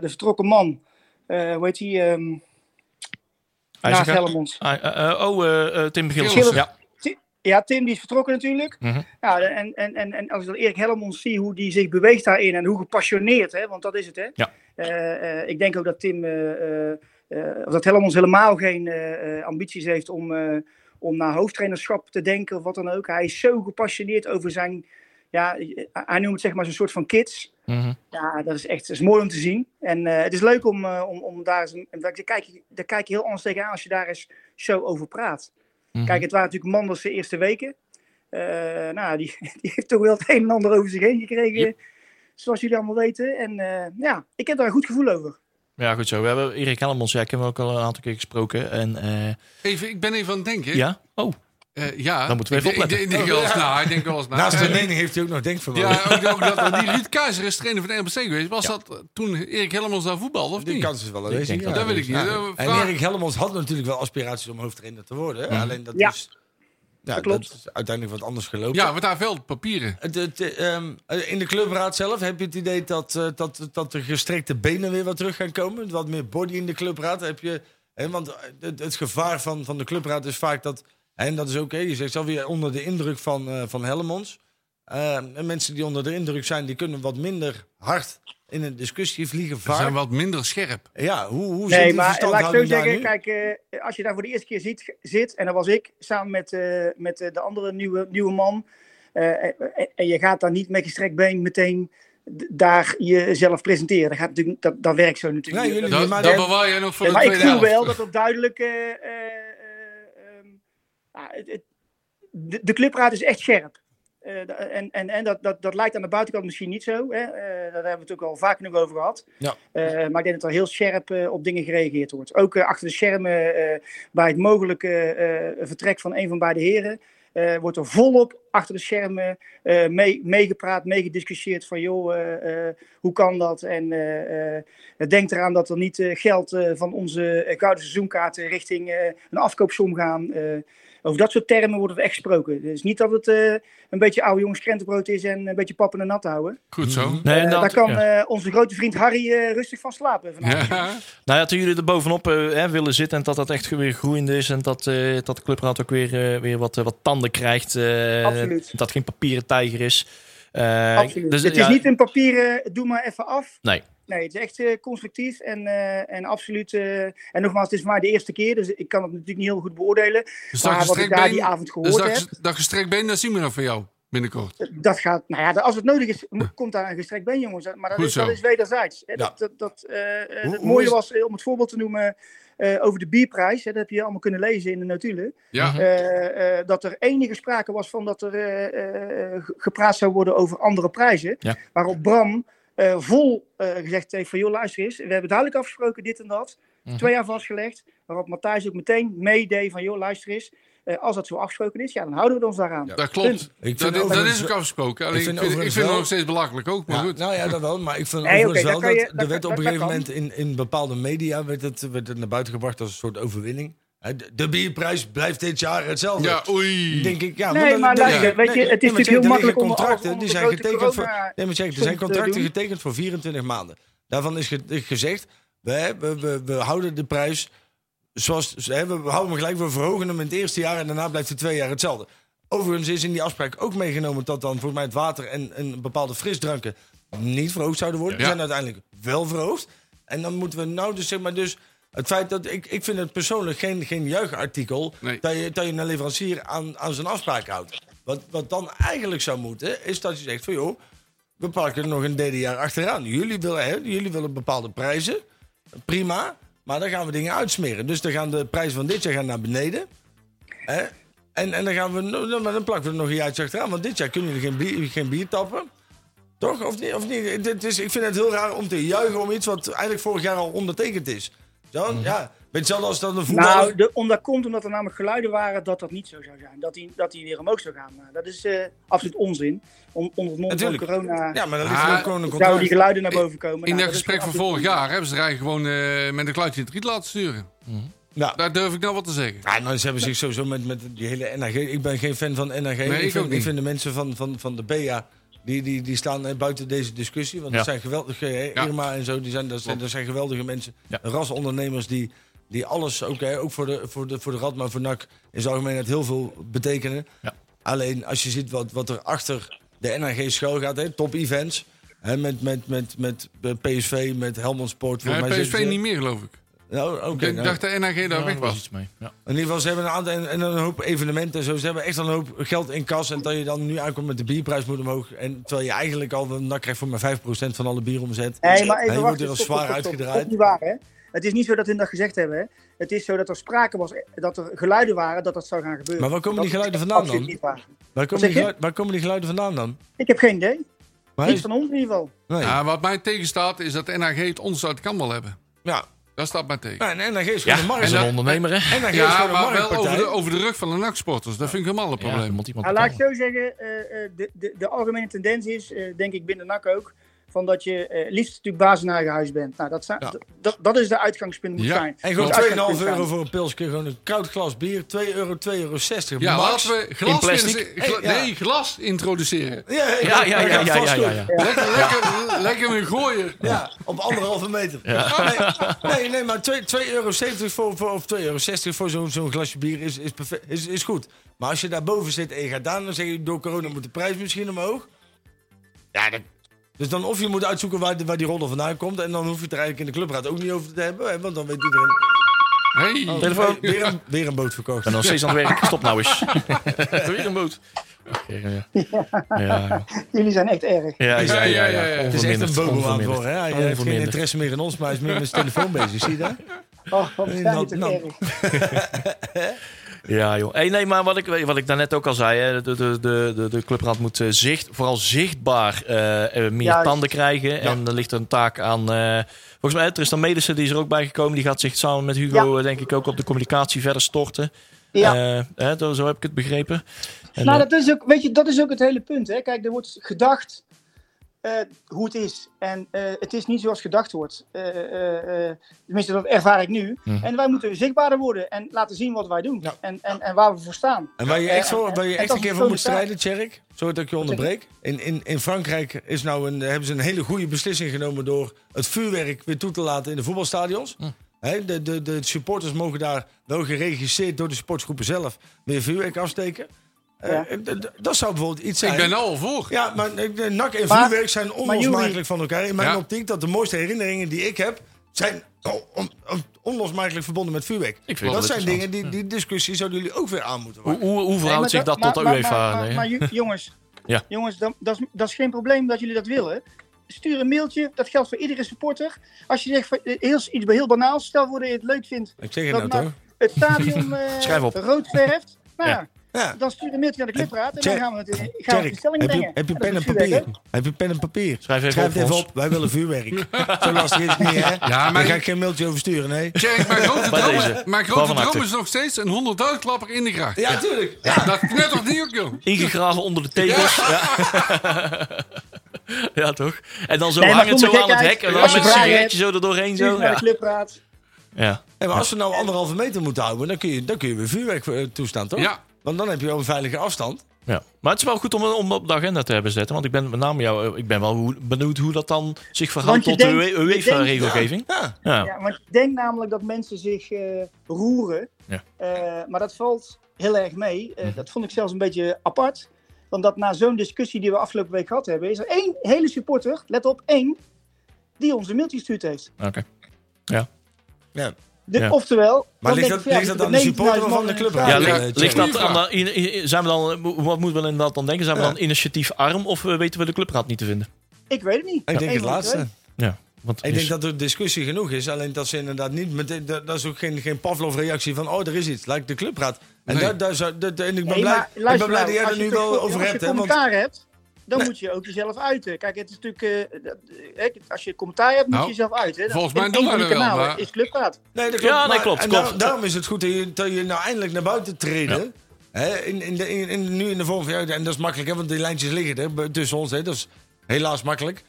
de vertrokken man. eh hoe heet die? ehm naast
IJzerga-
Helmond.
Ah, eh, eh, oh, eh, eh, Tim Gillis.
Gillis.
Ja.
Ja, Tim die is vertrokken natuurlijk.
Mhm.
Ja, en, en, en, en als ik dan Erik Helmond zie hoe die zich beweegt daarin en hoe gepassioneerd, hè, want dat is het hè.
Ja.
Eh, eh, ik denk ook dat Tim, eh, eh, eh, of dat Helmond helemaal geen eh, eh, ambities heeft om, eh, om naar hoofdtrainerschap te denken of wat dan ook. Hij is zo gepassioneerd over zijn, ja, eh, hij noemt het zeg maar zo'n soort van kids.
Mhm.
Ja, dat is echt dat is mooi om te zien. En eh, het is leuk om, eh, om, om daar eens... een- en Daar kijk, je- daar kijk je heel anders tegenaan als je daar eens zo over praat.
Mhm.
Kijk, het waren natuurlijk Manders de eerste weken. Eh, nou, die, <laughs> die heeft toch wel het een en ander over zich heen gekregen.
Yep.
Zoals jullie allemaal weten. En eh, ja, ik heb daar een goed gevoel over.
ja, goed zo. We hebben Erik Helmonds, ja, ik heb hem ook al een aantal keer gesproken. En, eh,
Even, ik ben even aan het denken.
ja? Oh,
Eh, ja.
Dan moeten we
Ik-
even
ik,
opletten.
Ik, denk wel eens na. Ik denk wel eens na.
Naast de
Eh,
mening heeft hij ook nog denkvermogen.
Ja, ook, ook dat, eh, die Ruud Keizer is trainer van de NBC geweest. Was dat eh, toen Erik Helmans daar voetbalde, of
Die
niet?
kans is wel
denk
aanwezig.
dat
dat weet ik niet.
Ja.
Eh,
En
vraag-
Erik Helmond had natuurlijk wel aspiraties om hoofdtrainer te worden. hè. Alleen dat
Ja.
is, ja,
Dat klopt.
dat is uiteindelijk wat anders gelopen.
Ja, want daar veel papieren.
Het- het, eh, ehm, eh, in de clubraad zelf heb je het idee dat, eh, dat, dat de gestrekte benen weer wat terug gaan komen. Wat meer body in de clubraad heb je. Hè, want eh, het, het gevaar van, van de clubraad is vaak dat En dat is oké. Je zegt zelf weer onder de indruk van, eh van Helmonds. Eh, en mensen die onder de indruk zijn, die kunnen wat minder hard in een discussie vliegen.
Ze
Vaak.
zijn wat minder scherp.
Ja, hoe, hoe zit
Nee,
Dus die
maar laat ik zo
verstandhouding daar
zeggen,
nu?
kijk, eh, als je daar voor de eerste keer ziet, zit, en dat was ik, samen met, eh, met eh, de andere nieuwe, nieuwe man, eh, en, en je gaat daar niet met je strekbeen meteen d- daar jezelf presenteren. Dat, gaat natuurlijk, dat, dat werkt zo natuurlijk.
Nee,
niet.
jullie
Dat,
maar
dat
dan-
bewaar je nog voor
Ja,
de
maar ik
tweede
voel
helft.
wel dat er duidelijk. eh, eh, eh, ehm, ja, het- het- de, de clubraad is echt scherp. Eh, da- en en, en dat, dat, dat lijkt aan de buitenkant misschien niet zo. Hè? Eh, daar hebben we het ook al vaak genoeg over gehad.
Ja.
Eh, maar ik denk dat er heel scherp eh, op dingen gereageerd wordt. Ook eh, achter de schermen eh, bij het mogelijke eh, vertrek van een van beide heren. eh, wordt er volop achter de schermen eh, mee- meegepraat, meegediscussieerd van joh, eh, eh, hoe kan dat? En eh, eh, Denk eraan dat er niet eh, geld eh, van onze eh, gouden seizoenkaarten richting eh, een afkoopsom gaan. Eh, over dat soort termen wordt het echt gesproken. Dus niet dat het eh, een beetje oude jongens krentenbrood is en een beetje pappen en nat houden.
Goed zo.
Nee,
Eh, daar
inderdaad,
kan
ja.
eh, onze grote vriend Harry eh, rustig van slapen vanavond.
<laughs>
<laughs>
Ja.
Nou ja, toen jullie er bovenop eh, hè, willen zitten en dat dat echt weer groeiende is en dat, eh, dat de clubraad ook weer, eh, weer wat, eh, wat tanden krijgt. eh,
Absoluut.
Dat geen papieren tijger is. Eh,
Absoluut.
dus,
het
ja,
is niet in papieren, doe maar even af.
Nee.
Nee, het is echt eh, constructief en, eh, en absoluut. eh, en nogmaals, het is voor mij de eerste keer, dus ik kan het natuurlijk niet heel goed beoordelen.
Dus dat
maar wat ik daar
gestrekbeen,
die avond gehoord
dus dat,
heb.
ges- dat gestrekt been, dat zien we nog van jou binnenkort.
Dat gaat, nou ja, dat- als het nodig is, mo- komt daar een gestrekt been, jongens. Maar dat,
Goed
is,
zo.
dat is wederzijds. hè.
Ja.
Dat, dat, dat, eh, eh,
Hoe-
het
hoe
mooie
is-
was, eh, om het voorbeeld te noemen, eh, over de bierprijs. Hè, dat heb je allemaal kunnen lezen in de notulen.
Hm.
Ja.
Eh, eh, dat er enige sprake was van dat er eh, eh, ge- gepraat zou worden over andere prijzen.
Ja.
Waarop Bram eh, vol eh, gezegd heeft van, joh, luister eens. We hebben duidelijk afgesproken dit en dat.
Hm.
Mhm.
Twee jaar vastgelegd. Waarop Matthijs ook meteen meedeed van, joh, luister eens. eh, als dat zo afgesproken is, ja, dan houden we ons daaraan.
Dat klopt.
vind
Dat, is- dat
overigens-
is ook afgesproken. Alleen, ik
vind
vind, ik vind,
overigens
het
wel-
nog steeds belachelijk ook, maar
Ja,
goed.
Nou ja, dat wel. Maar ik vind
Nee,
overigens
oké,
wel
dat kan
dat
je-
er
dat-
werd
dat-
op een
dat
gegeven
kan.
moment in, in bepaalde media werd het, werd het naar buiten gebracht als een soort overwinning. Hè, De, de bierprijs blijft dit jaar hetzelfde.
Ja, oei.
denk ik, ja,
Nee,
dan-
maar
dan-
luister, weet je, het is
maar
natuurlijk
check,
heel
er
makkelijk
liggen
om alles
contracten,
onder
die
de
zijn
grote
getekend voor.
corona
Nee, maar check, er
soms
zijn
te
contracten
doen.
getekend voor 24 maanden. Daarvan is ge- is gezegd, we, we, we, we houden de prijs zoals hè, we we houden hem gelijk, we verhogen hem in het eerste jaar en daarna blijft hij twee jaar hetzelfde. Overigens is in die afspraak ook meegenomen dat dan volgens mij het water en, en bepaalde frisdranken niet verhoogd zouden
Ja.
worden. Die zijn uiteindelijk wel verhoogd. En dan moeten we nou dus zeg maar dus het feit dat ik, ik vind het persoonlijk geen, geen juichartikel
Nee.
dat, je, dat je een leverancier aan, aan zijn afspraak houdt. Wat, wat dan eigenlijk zou moeten is dat je zegt van joh, we pakken er nog een derde jaar achteraan. Jullie willen, hè, jullie willen bepaalde prijzen. Prima. Maar dan gaan we dingen uitsmeren. Dus dan gaan de prijzen van dit jaar gaan naar beneden. Hè? En, en dan, gaan we, no- no- maar dan plakken we er nog een jaartje achteraan. Want dit jaar kunnen jullie geen bier, geen bier tappen. Toch? Of niet? Of niet? Dit is, ik vind het heel raar om te juichen om iets wat eigenlijk vorig jaar al ondertekend is. Zo, ja. Weet je, hetzelfde als dat een voetballer...
Mhm. Nou, de, om, dat komt omdat er namelijk geluiden waren dat dat niet zo zou zijn. Dat hij dat die weer omhoog zou gaan. Maar dat is eh, absoluut onzin. Om, onder het mond van
Natuurlijk.
corona
ja, maar dat ligt
Ah,
ook gewoon een
zouden die
contract.
geluiden naar boven komen.
In
Nou,
dat
is
gesprek van
absoluut
vorig
onzin.
jaar hebben ze er eigenlijk gewoon eh, met een kluitje in het riet laten sturen.
Ja.
Daar durf ik nou wat te zeggen.
Ja, nou, ze hebben zich sowieso met, met die hele NAG. Ik ben geen fan van NAG.
ik
ik, vind,
ook niet.
ik vind de mensen van, van, van de BA. Die, die, die staan eh, buiten deze discussie. Want
Ja.
dat zijn geweldige. hè,
Ja.
Irma en zo. Die zijn, dat, zijn, dat zijn geweldige mensen.
Ja.
Rasondernemers die, die alles. Ook, hè, ook voor, de, voor, de, voor de Rad, maar voor NAC. In zijn algemeenheid heel veel betekenen.
Ja.
Alleen als je ziet wat, wat er achter de NAG schuil gaat. Hè, top events. Hè, met, met, met, met, eh, PSV. Met Helmond Sport.
Ja,
volgens mij zitten
PSV
ze-
niet meer, geloof ik.
Nou, oké,
ik
nou.
dacht dat NAG daar
Ja,
weg
daar was
was.
iets mee. Ja.
In ieder geval, ze hebben een aantal en, en een hoop evenementen en zo. Ze hebben echt al een hoop geld in kas. En dat je dan nu aankomt met de bierprijs moet omhoog. En terwijl je eigenlijk al een nak krijgt voor maar 5% van alle bieromzet.
Nee, maar
Hè,
even
je wordt
wachten.
er al
stop,
zwaar
stop, stop, stop.
uitgedraaid.
Dat is niet waar, hè? Het is niet zo dat hun dat gezegd hebben. Hè? Het is zo dat er sprake was, eh, dat er geluiden waren dat dat zou gaan gebeuren.
Maar waar komen
Dat
die geluiden
is
vandaan
absoluut
dan?
Niet waar.
Waar komen,
zeg
die
je?
geluid- waar komen die geluiden vandaan dan?
Ik heb geen idee.
Maar
Niet van ons in ieder geval.
nee. Ja.
Ja, wat mij tegenstaat is dat NAG het ons uit de kan wel hebben. Dat staat mij tegen.
Nou, en NAG is
Ja,
gewoon een
is
markt.
een
En
ondernemer, hè?
NAG is
Ja,
gewoon een
maar wel over de,
marktpartij.
over de rug van de nachtsporters. Dat vind ik helemaal een
Ja,
probleem.
moet iemand
Nou, laat ik
betalen.
zo zeggen, eh, eh, de, de, de algemene tendens is, eh, denk ik binnen NAC ook, Van dat je eh, liefst natuurlijk baas in eigen huis bent. Nou, dat, zijn,
Ja.
d- dat, dat is de uitgangspunt moet
Ja.
zijn.
En
Dat is het
gewoon 2,5
uitgangspunt
euro
zijn.
voor een pilsje. Gewoon een koud glas bier. 2 euro, 2,60 euro.
Ja,
max.
laten we glas,
in plastic.
in- gla-
Hey, ja.
Nee, glas introduceren.
Ja, hey,
Ja, ja,
we
ja,
gaan
ja,
vast
ja, ja,
doen.
ja.
Lekker, lekker, lekker weer gooien.
Ja, op anderhalve meter. Nee, nee, nee, maar 2,70 euro voor, voor, of 2,60 euro voor zo'n zo'n glasje bier is, is, perfect, is, is goed. Maar als je daarboven zit en je gaat daar, dan zeg je door corona moet de prijs misschien omhoog. Ja, dan- dus dan of je moet uitzoeken waar, de- waar die roddel vandaan komt. En dan hoef je het er eigenlijk in de clubraad ook niet over te hebben. hè, Want dan weet iedereen.
Hey.
Telefoon.
Weer een, weer een boot verkocht.
En dan steeds aan het werk. Stop nou eens. Weer een boot. Ja, ja,
Jullie zijn echt erg.
ja, ja, ja, ja, ja.
Het
Het is echt een
Onverminderd,
bobo aan het
onverminderd,
worden. hè. Hij heeft geen
onverminderd.
interesse meer in ons, maar hij is meer met zijn telefoon bezig. Zie je dat?
Oh, wat zijn
Nou,
jullie
nou.
toch erg.
Ja, joh. Hey, nee, maar wat ik, wat ik daarnet ook al zei, hè, de, de, de, de, de clubraad moet eh, zicht, vooral zichtbaar eh, eh, meer
Juist.
tanden krijgen. En er ligt een taak aan. eh volgens mij, Tristan Medissen die is er ook bij gekomen. Die gaat zich samen met Hugo,
Ja.
eh, denk ik, ook op de communicatie verder storten.
Ja.
Eh, hè, zo- zo heb ik het begrepen. En,
nou,
eh,
dat is, ook, weet je, dat is ook het hele punt. Hè? Kijk, er wordt gedacht eh, hoe het is. En eh, het is niet zoals gedacht wordt. Eh, eh, eh, tenminste, dat ervaar ik nu.
Mhm.
En wij moeten zichtbaarder worden en laten zien wat wij doen.
Ja.
En, en, en waar we voor staan.
En waar je echt, voor, waar je
En
echt
dat
een keer
is
voor
een
moet
grote
strijden, Tjerk, sorry dat ik je onderbreek. In, in, in Frankrijk is nou een, hebben ze een hele goede beslissing genomen door het vuurwerk weer toe te laten in de voetbalstadions.
Hm.
Hè, de, de, de supporters mogen daar wel geregisseerd door de sportgroepen zelf weer vuurwerk afsteken. Eh,
Ja.
d- d- dat zou bijvoorbeeld iets zijn.
Ik ben nou al voor.
Ja, maar eh, de NAC en
Maar-
vuurwerk zijn
Joeri-
onlosmakelijk van elkaar. In mijn
Ja.
optiek dat de mooiste herinneringen die ik heb, zijn on- on- on- onlosmakelijk verbonden met vuurwerk.
vind het wel
Dat zijn
interessant,
dingen, die,
Hm.
die discussie zouden jullie ook weer aan moeten
eh, hoe, hoe, hoe
Nee,
verhoudt
maar
zich dat, tot
maar-
de UEFA?
Maar, maar,
nee, hè?
maar ju- jongens,
Ja.
jongens dat, dat, is, dat is geen probleem dat jullie dat willen. Stuur een mailtje, dat geldt voor iedere supporter. Als je zegt van, eh, heel, iets heel banaals, stel voor dat je het leuk vindt
Ik zeg het
dat
nou
maar-
toch?
het stadion eh,
Schrijf op.
rood verft. Nou
Ja.
ja.
Ja.
Dan stuur een mailtje naar de clubraad en dan
Tjerk,
gaan we het, eh, gaan we het
Tjerk,
in stelling
heb je,
brengen.
heb je
En dat
pen en
is vuurwerk,
papier?
hè?
Heb je pen en papier?
Schrijf even op
het even
voor
op. Wij willen vuurwerk. Zo lastig is het niet, hè?
Ja, maar-
Daar ga ik geen mailtje over sturen, nee.
<laughs>
Tjerk, mijn grote
Bij
droom,
deze.
mijn grote
Waarvan
droom
acte?
is nog steeds een 100.000 klapper in de gracht.
Ja, tuurlijk.
Dat knettert niet ook, joh.
Ingegraven onder de tegels. Ja. <laughs> Ja. toch? En dan zo
Nee, maar
hangend zo
zonder
aan het
gekheid,
hek. En dan
als
met
je
een
vragen
sigaretje zo er doorheen.
Stuur
Zo.
het naar
Ja.
de clubraad.
Ja.
En maar als we nou anderhalve meter moeten houden, dan kun je, dan kun je weer vuurwerk eh, toestaan, toch?
Ja.
Want dan heb je wel een veilige afstand.
Ja, maar het is wel goed om, om op de agenda te hebben zetten. Want ik ben met name jou, eh, ik ben wel hoe- benieuwd hoe dat dan zich verhoudt
Want je
tot de
denkt-
UE
je denkt-
UEFA-regelgeving.
Ja.
Ja.
Ja, want ik denk namelijk dat mensen zich eh, roeren.
Ja. Mhm.
Eh, maar dat valt heel erg mee. Eh, Dat vond ik zelfs een beetje apart. Omdat na zo'n discussie die we afgelopen week gehad hebben, is er één hele supporter, let op, één, die ons een mailtje gestuurd heeft.
oké.
ja.
De-
Ja.
Oftewel,
Maar ligt dat-
denk ik van, ja, nou
ligt dat
er
aan de
19.000
supporter of
man
aan de
in
club?
het
Ja,
stadion.
Ja,
ligt,
ja,
ligt dat
ja.
aan de- in- in- zijn we dan, eh, wat moeten we inderdaad dan denken? Zijn we dan initiatief arm of eh, weten we de clubraad niet te vinden?
Ik weet het niet.
Ik
Eén
denk het
van de twee.
laatste.
Ja, want
Ik
is-
denk dat de discussie genoeg is. Alleen dat ze inderdaad niet... meteen- dat dat is ook geen, geen Pavlov-reactie van... Oh, er is iets. Lijkt de clubraad. En,
Nee.
daar, daar zou, dat- en ik ben
Nee,
blij,
maar
ik ben
luister
blij
nou,
dat jij
als
er
je
nu
toch-
wel over
Als je
hebt. hè, want-
commentaar hebt, dan moet je ook jezelf uiten. Kijk, het is natuurlijk... eh, dat- eh, als je commentaar hebt, moet
Nou,
je jezelf uiten. hè. Dat
volgens
is
mij
een
doen
van
wij
die
dat wel,
kanalen,
maar-
is clubraad.
Nee, dat klopt.
Ja, nee,
maar-
klopt,
en
klopt.
daarom- daarom is het goed dat je, dat je nou eindelijk naar buiten treden. Hè, in, in de, in, in- nu in de vorm van jou. En dat is makkelijk, hè, want die lijntjes liggen er b- tussen ons. Hè, dat is helaas makkelijk.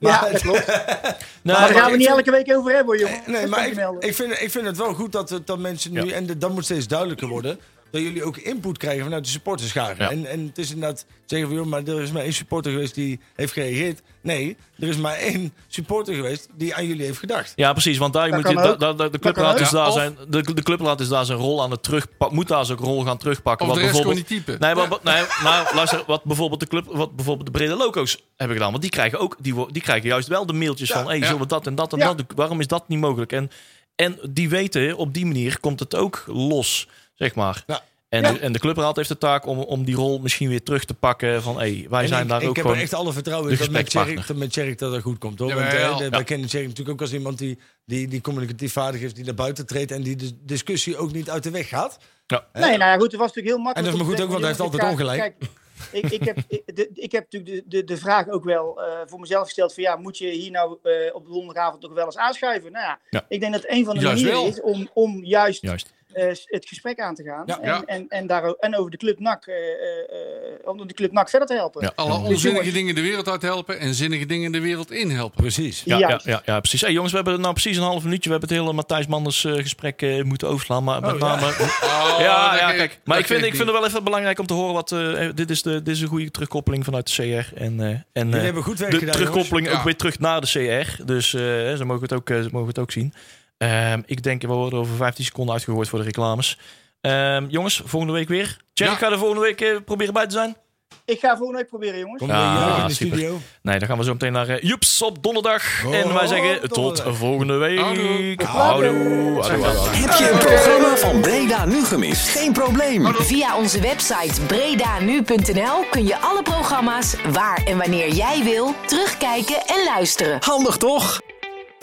ja, dat klopt.
Nou,
Maar daar gaan
ik
we niet
vind-
elke week over hebben, jongen.
Nee,
Dat
maar
kan je
ik,
melden.
ik, vind, ik vind het wel goed dat, het- dat mensen nu...
Ja.
En dat moet steeds duidelijker worden. Dat jullie ook input krijgen vanuit de supporterscharen.
Ja.
En, en het is inderdaad zeggen van... Joh, maar er is maar één supporter geweest die heeft gereageerd. Nee, er is maar één supporter geweest die aan jullie heeft gedacht.
Ja, precies. Want daar
Dat
moet je,
kan ook.
da- da- da- de,
kan
clubraad
ook.
is
Ja,
daar
of-
zijn, de, de clubraad is daar zijn rol aan het terugpakken. Moet daar zijn rol gaan terugpakken.
Of de
wat
rest gewoon
bijvoorbeeld,
niet typen.
Nee, maar, wat- nee, nou, luister, wat bijvoorbeeld de club, wat bijvoorbeeld de brede loco's hebben gedaan. Want die krijgen ook, die, wo- die krijgen juist wel de mailtjes van, hey,
ja.
zullen we dat en dat en
Ja.
dat doen? Waarom is dat niet mogelijk? En, en die weten, op die manier komt het ook los, zeg maar.
Ja.
En,
Ja.
De, en de clubraad heeft de taak om, om die rol misschien weer terug te pakken. Van, hey, wij
En
zijn
ik,
daar
ik
ook
heb
gewoon...
er echt alle vertrouwen
de
in dat met
gesprekspartner.
Tjerk, dat met Tjerk dat het goed komt. Hoor. Want,
Jawel.
eh, de-
Ja.
wij kennen Tjerk natuurlijk ook als iemand die, die, die communicatief vaardig is, die naar buiten treedt en die de discussie ook niet uit de weg gaat.
Nee, nou ja, goed, het was natuurlijk heel makkelijk.
En dat is maar
om
goed
te
ook,
zeggen,
want hij
jongens,
heeft altijd
ik ga- Kijk, ik, ik, heb, ik, de, ik heb natuurlijk de, de, de vraag ook wel eh, voor mezelf gesteld van ja, moet je hier nou eh, op donderdagavond toch wel eens aanschuiven? Nou ja,
Ja.
ik denk dat een van de
Juist
manieren
wel.
is om, om juist
Juist.
eh, s- het gesprek aan te gaan.
Ja.
en,
Ja.
En, en, daar, en over de Club NAC, eh, eh, eh, om de Club NAC verder te helpen.
Ja.
Alle onzinnige
jongens-
dingen de wereld uit helpen en zinnige dingen de wereld in helpen.
Precies.
Ja, ja,
Juist.
ja, ja, precies. Hey, jongens, we hebben nou precies een half minuutje. We hebben het hele Matthijs Manders eh, gesprek eh, moeten overslaan. Maar met name.
Oh,
<laughs> ja,
dat
ja,
kan
kijk.
dat
Maar
kan
ik vind, ik
niet.
vind het wel even belangrijk om te horen. Wat, eh, dit, is de, dit is een goede terugkoppeling vanuit de CR. En, eh, en eh,
Jullie hebben goed werk
de
gedaan.
terugkoppeling
jongens.
ook
Ja.
weer terug naar de CR. Dus eh, ze, mogen het ook, eh, ze mogen het ook zien. Ehm, ik denk, we worden over 15 seconden uitgegooid voor de reclames. Ehm, jongens, volgende week weer. Jerry,
Ja.
ga er volgende week eh, proberen bij te zijn.
Ik ga volgende week proberen, jongens.
Kom
Ja,
ja, in de
super.
studio.
Nee, dan gaan we zo meteen naar eh, Joeps op donderdag.
Oh,
en wij zeggen
op
tot
donderdag.
volgende week.
Houdoe.
Houdoe. Houdoe, houdoe.
Heb je een programma van Breda nu gemist? Geen probleem.
Via onze website bredanu.nl kun je alle programma's waar en wanneer jij wil terugkijken en luisteren.
Handig toch?